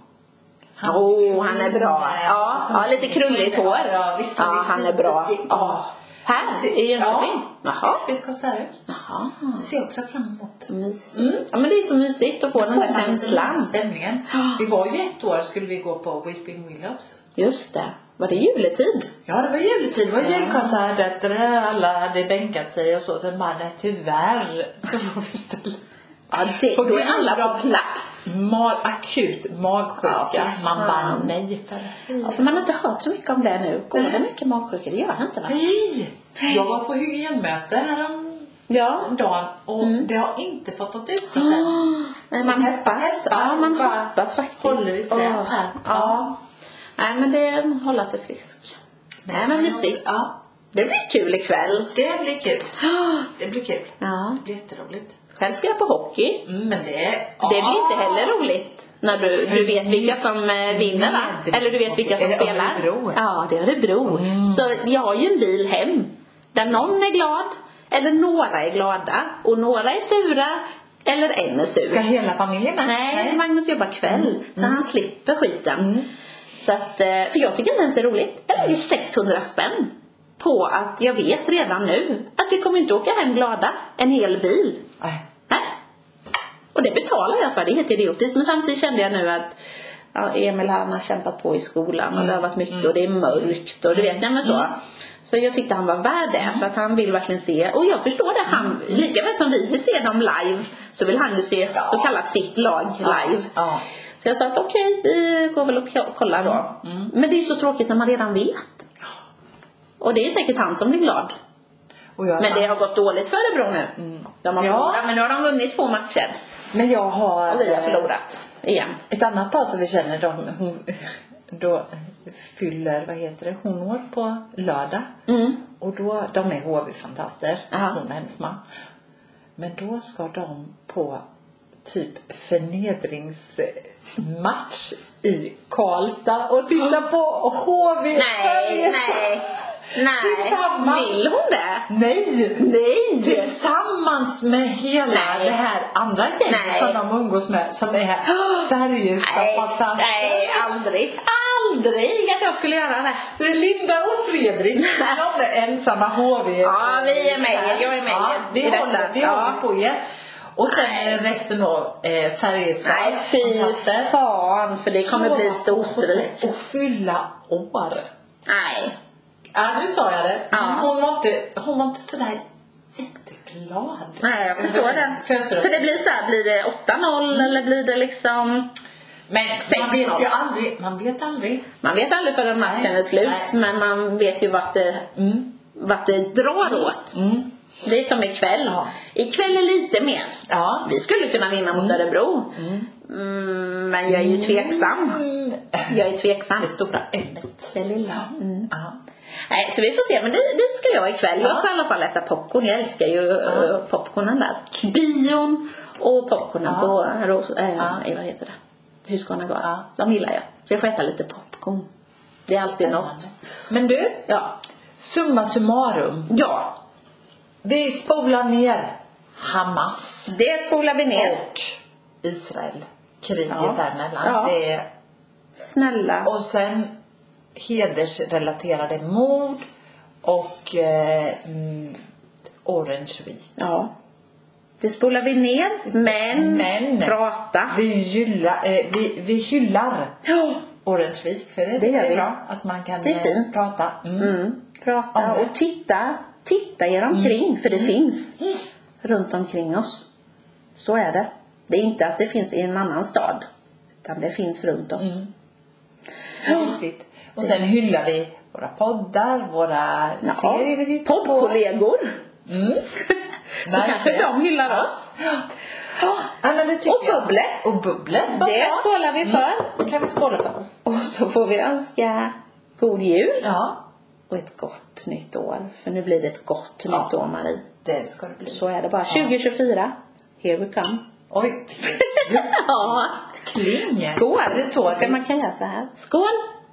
Mm.
Åh, han är bra. Ja, ja, lite krulligt hår.
Ja, visst,
Ja, han är bra.
Ja.
Här i Jönköping? Jaha.
Vi ska konserthus.
Jaha.
Det ser jag också fram emot.
Mysigt. Ja, men det är så mysigt Mm. att få den där
Får man inte
känslan.
den Stämningen. Det var ju ett år skulle vi gå på Weeping Willows.
Just det. Var det juletid?
Ja, det var juletid. Det var julkonsert där alla hade bänkat sig och så. Sen bara, nej tyvärr så får vi ställa
Ja, det,
Och
då är
gud,
alla
bra.
på plats.
Mag, akut magsjuka.
Ja, fy
man bara,
fan.
nej för
Ja, för Alltså, man har inte hört så mycket om det nu. Går det mycket magsjuka? Det gör det inte va?
Nej! Jag var på hygienmöte häromdagen
Ja.
och
Mm.
det har inte fått något utbrott än.
Nej,
Så
man
peppa,
hoppas.
peppa.
Ja, man
Bara
hoppas faktiskt.
håller i trä.
Åh, här. Ja. Nej, men det är hålla sig frisk. Nej, men mysigt.
Ja,
Det blir kul ikväll.
det blir kul. Det blir kul.
Ja.
Det blir jätteroligt.
Själv ska jag på hockey.
Mm, men det...
Det blir inte heller roligt. När du, du vet vilka som eh, vinner va? Eller du vet vilka som
Är det
spelar.
Örebro? Mm.
Ja, det är Örebro. Så jag har ju en bil hem. Där någon är glad. Eller några är glada. Och några är sura. Eller en är sur.
Ska hela familjen med?
Nej, Magnus jobbar kväll så han slipper skiten. Så att, eh, för jag tycker inte ens det är roligt. Jag lägger 600 spänn på att jag vet redan nu att vi kommer inte åka hem glada en hel bil.
Nej.
Nej. Och det betalar jag för, det är helt idiotiskt. Men samtidigt kände jag nu att ja, Emil han har kämpat på i skolan och det har varit
Mm.
mycket och det är mörkt och du vet, nej men så. Så jag tyckte han var värd det för att han vill verkligen se, och jag förstår det,
Mm.
han, lika väl som vi vill se dem live så vill han ju se
Ja.
så kallat sitt lag live.
Ja.
Så jag sa att okej, vi går väl och ko- kollar då.
Mm.
Men det är ju så tråkigt när man redan vet. Och det är säkert han som blir glad.
Och jag,
Men det har gått dåligt för Örebro nu. De har
Mm. Ja.
förlorat, men nu har de vunnit två matcher.
men jag har...
Och vi har förlorat. Igen.
Ett annat par som vi känner, de, hon, då fyller, vad heter det, hon år på lördag.
Mm.
Och då, de är HV-fantaster,
Aha.
hon och hennes man. Men då ska de på typ förnedringsmatch i Karlstad och titta på HV
Nej,
Färjestad.
nej, nej.
Tillsammans.
Vill hon det?
Nej! Nej! Tillsammans med hela
Nej.
det här andra gänget
Nej.
som de umgås med som är
Nej,
Färjestad
nej, aldrig. Aldrig att jag skulle göra det.
Så det är Linda och Fredrik, de är ensamma HV.
Ja, vi är med er. Jag är med
ja,
er
vi
i detta.
håller, vi
Ja.
håller på er. Och sen
Nej.
är resten då eh, Färjestad.
Nej, fy
kontakter.
fan för det kommer bli
Så-
storstryk.
Och fylla år.
Nej.
Ja, nu sa jag det.
Ja.
Men Hon, var inte, hon var inte sådär jätteglad.
Nej, jag förstår det.
Födelsedag.
För det blir så här, blir det 8-0 eller blir det liksom...
Mm. Men man
6-0.
vet ju aldrig. Man vet aldrig.
Man vet aldrig förrän matchen
Nej,
är slut,
nej.
men man vet ju vart det,
Mm.
vart det drar åt.
Mm.
Det är som ikväll.
Ja.
Ikväll är lite mer.
Ja.
Vi skulle kunna vinna mot Örebro. Mm. men jag är ju tveksam.
Mm.
Jag är tveksam.
Det stora ämnet.
Det lilla. Mm.
Ja.
Nej, så vi får se, men dit, dit ska jag ikväll. Jag ska i alla fall äta popcorn. Jag älskar ju eh, popcornen där. Bion och popcornen
Ja.
på Ros- eh,
Ja.
eh, vad heter det? Husqvarna Gard.
Ja.
De gillar jag. Så jag får äta lite popcorn. Det är alltid något.
Men du,
Ja.
summa summarum.
Ja,
Vi spolar ner Hamas
det spolar vi ner.
och Israel. Kriget
Ja.
däremellan.
Ja.
Det är
Snälla.
Och sen hedersrelaterade mord och eh, mm, Orange Week.
Ja. Det spolar vi ner, men,
Men.
prata.
Vi, gyllar, eh, vi, vi hyllar
Ja.
Orange Week för det,
Det gör
är
vi.
bra att man kan
Det är
eh,
fint.
prata. Mm.
Mm. Prata
Om det.
och titta. Titta er omkring,
Mm.
för det finns runt omkring oss. Så är det. Det är inte att det finns i en annan stad, utan det finns runt oss.
Mm. Det är viktigt. Och sen hyllar vi våra poddar, våra
Ja.
serier vi tittar på.
Poddkollegor.
Mm.
Så kanske
Verkligen.
de hyllar oss.
Ja, men det tycker
Och
jag.
bubblet.
Och bubblet. vad
Det
bra. Mm.
skålar vi för.
kan vi skåla för.
Och så får vi önska god jul.
Ja,
och ett gott nytt år. För nu blir det ett gott
Ja.
nytt år Marie.
det ska det bli.
Så är det bara. 2024, here we come.
Oj,
Ja.
kling.
Skål!
Det är så det
Man kan göra så här. Skål!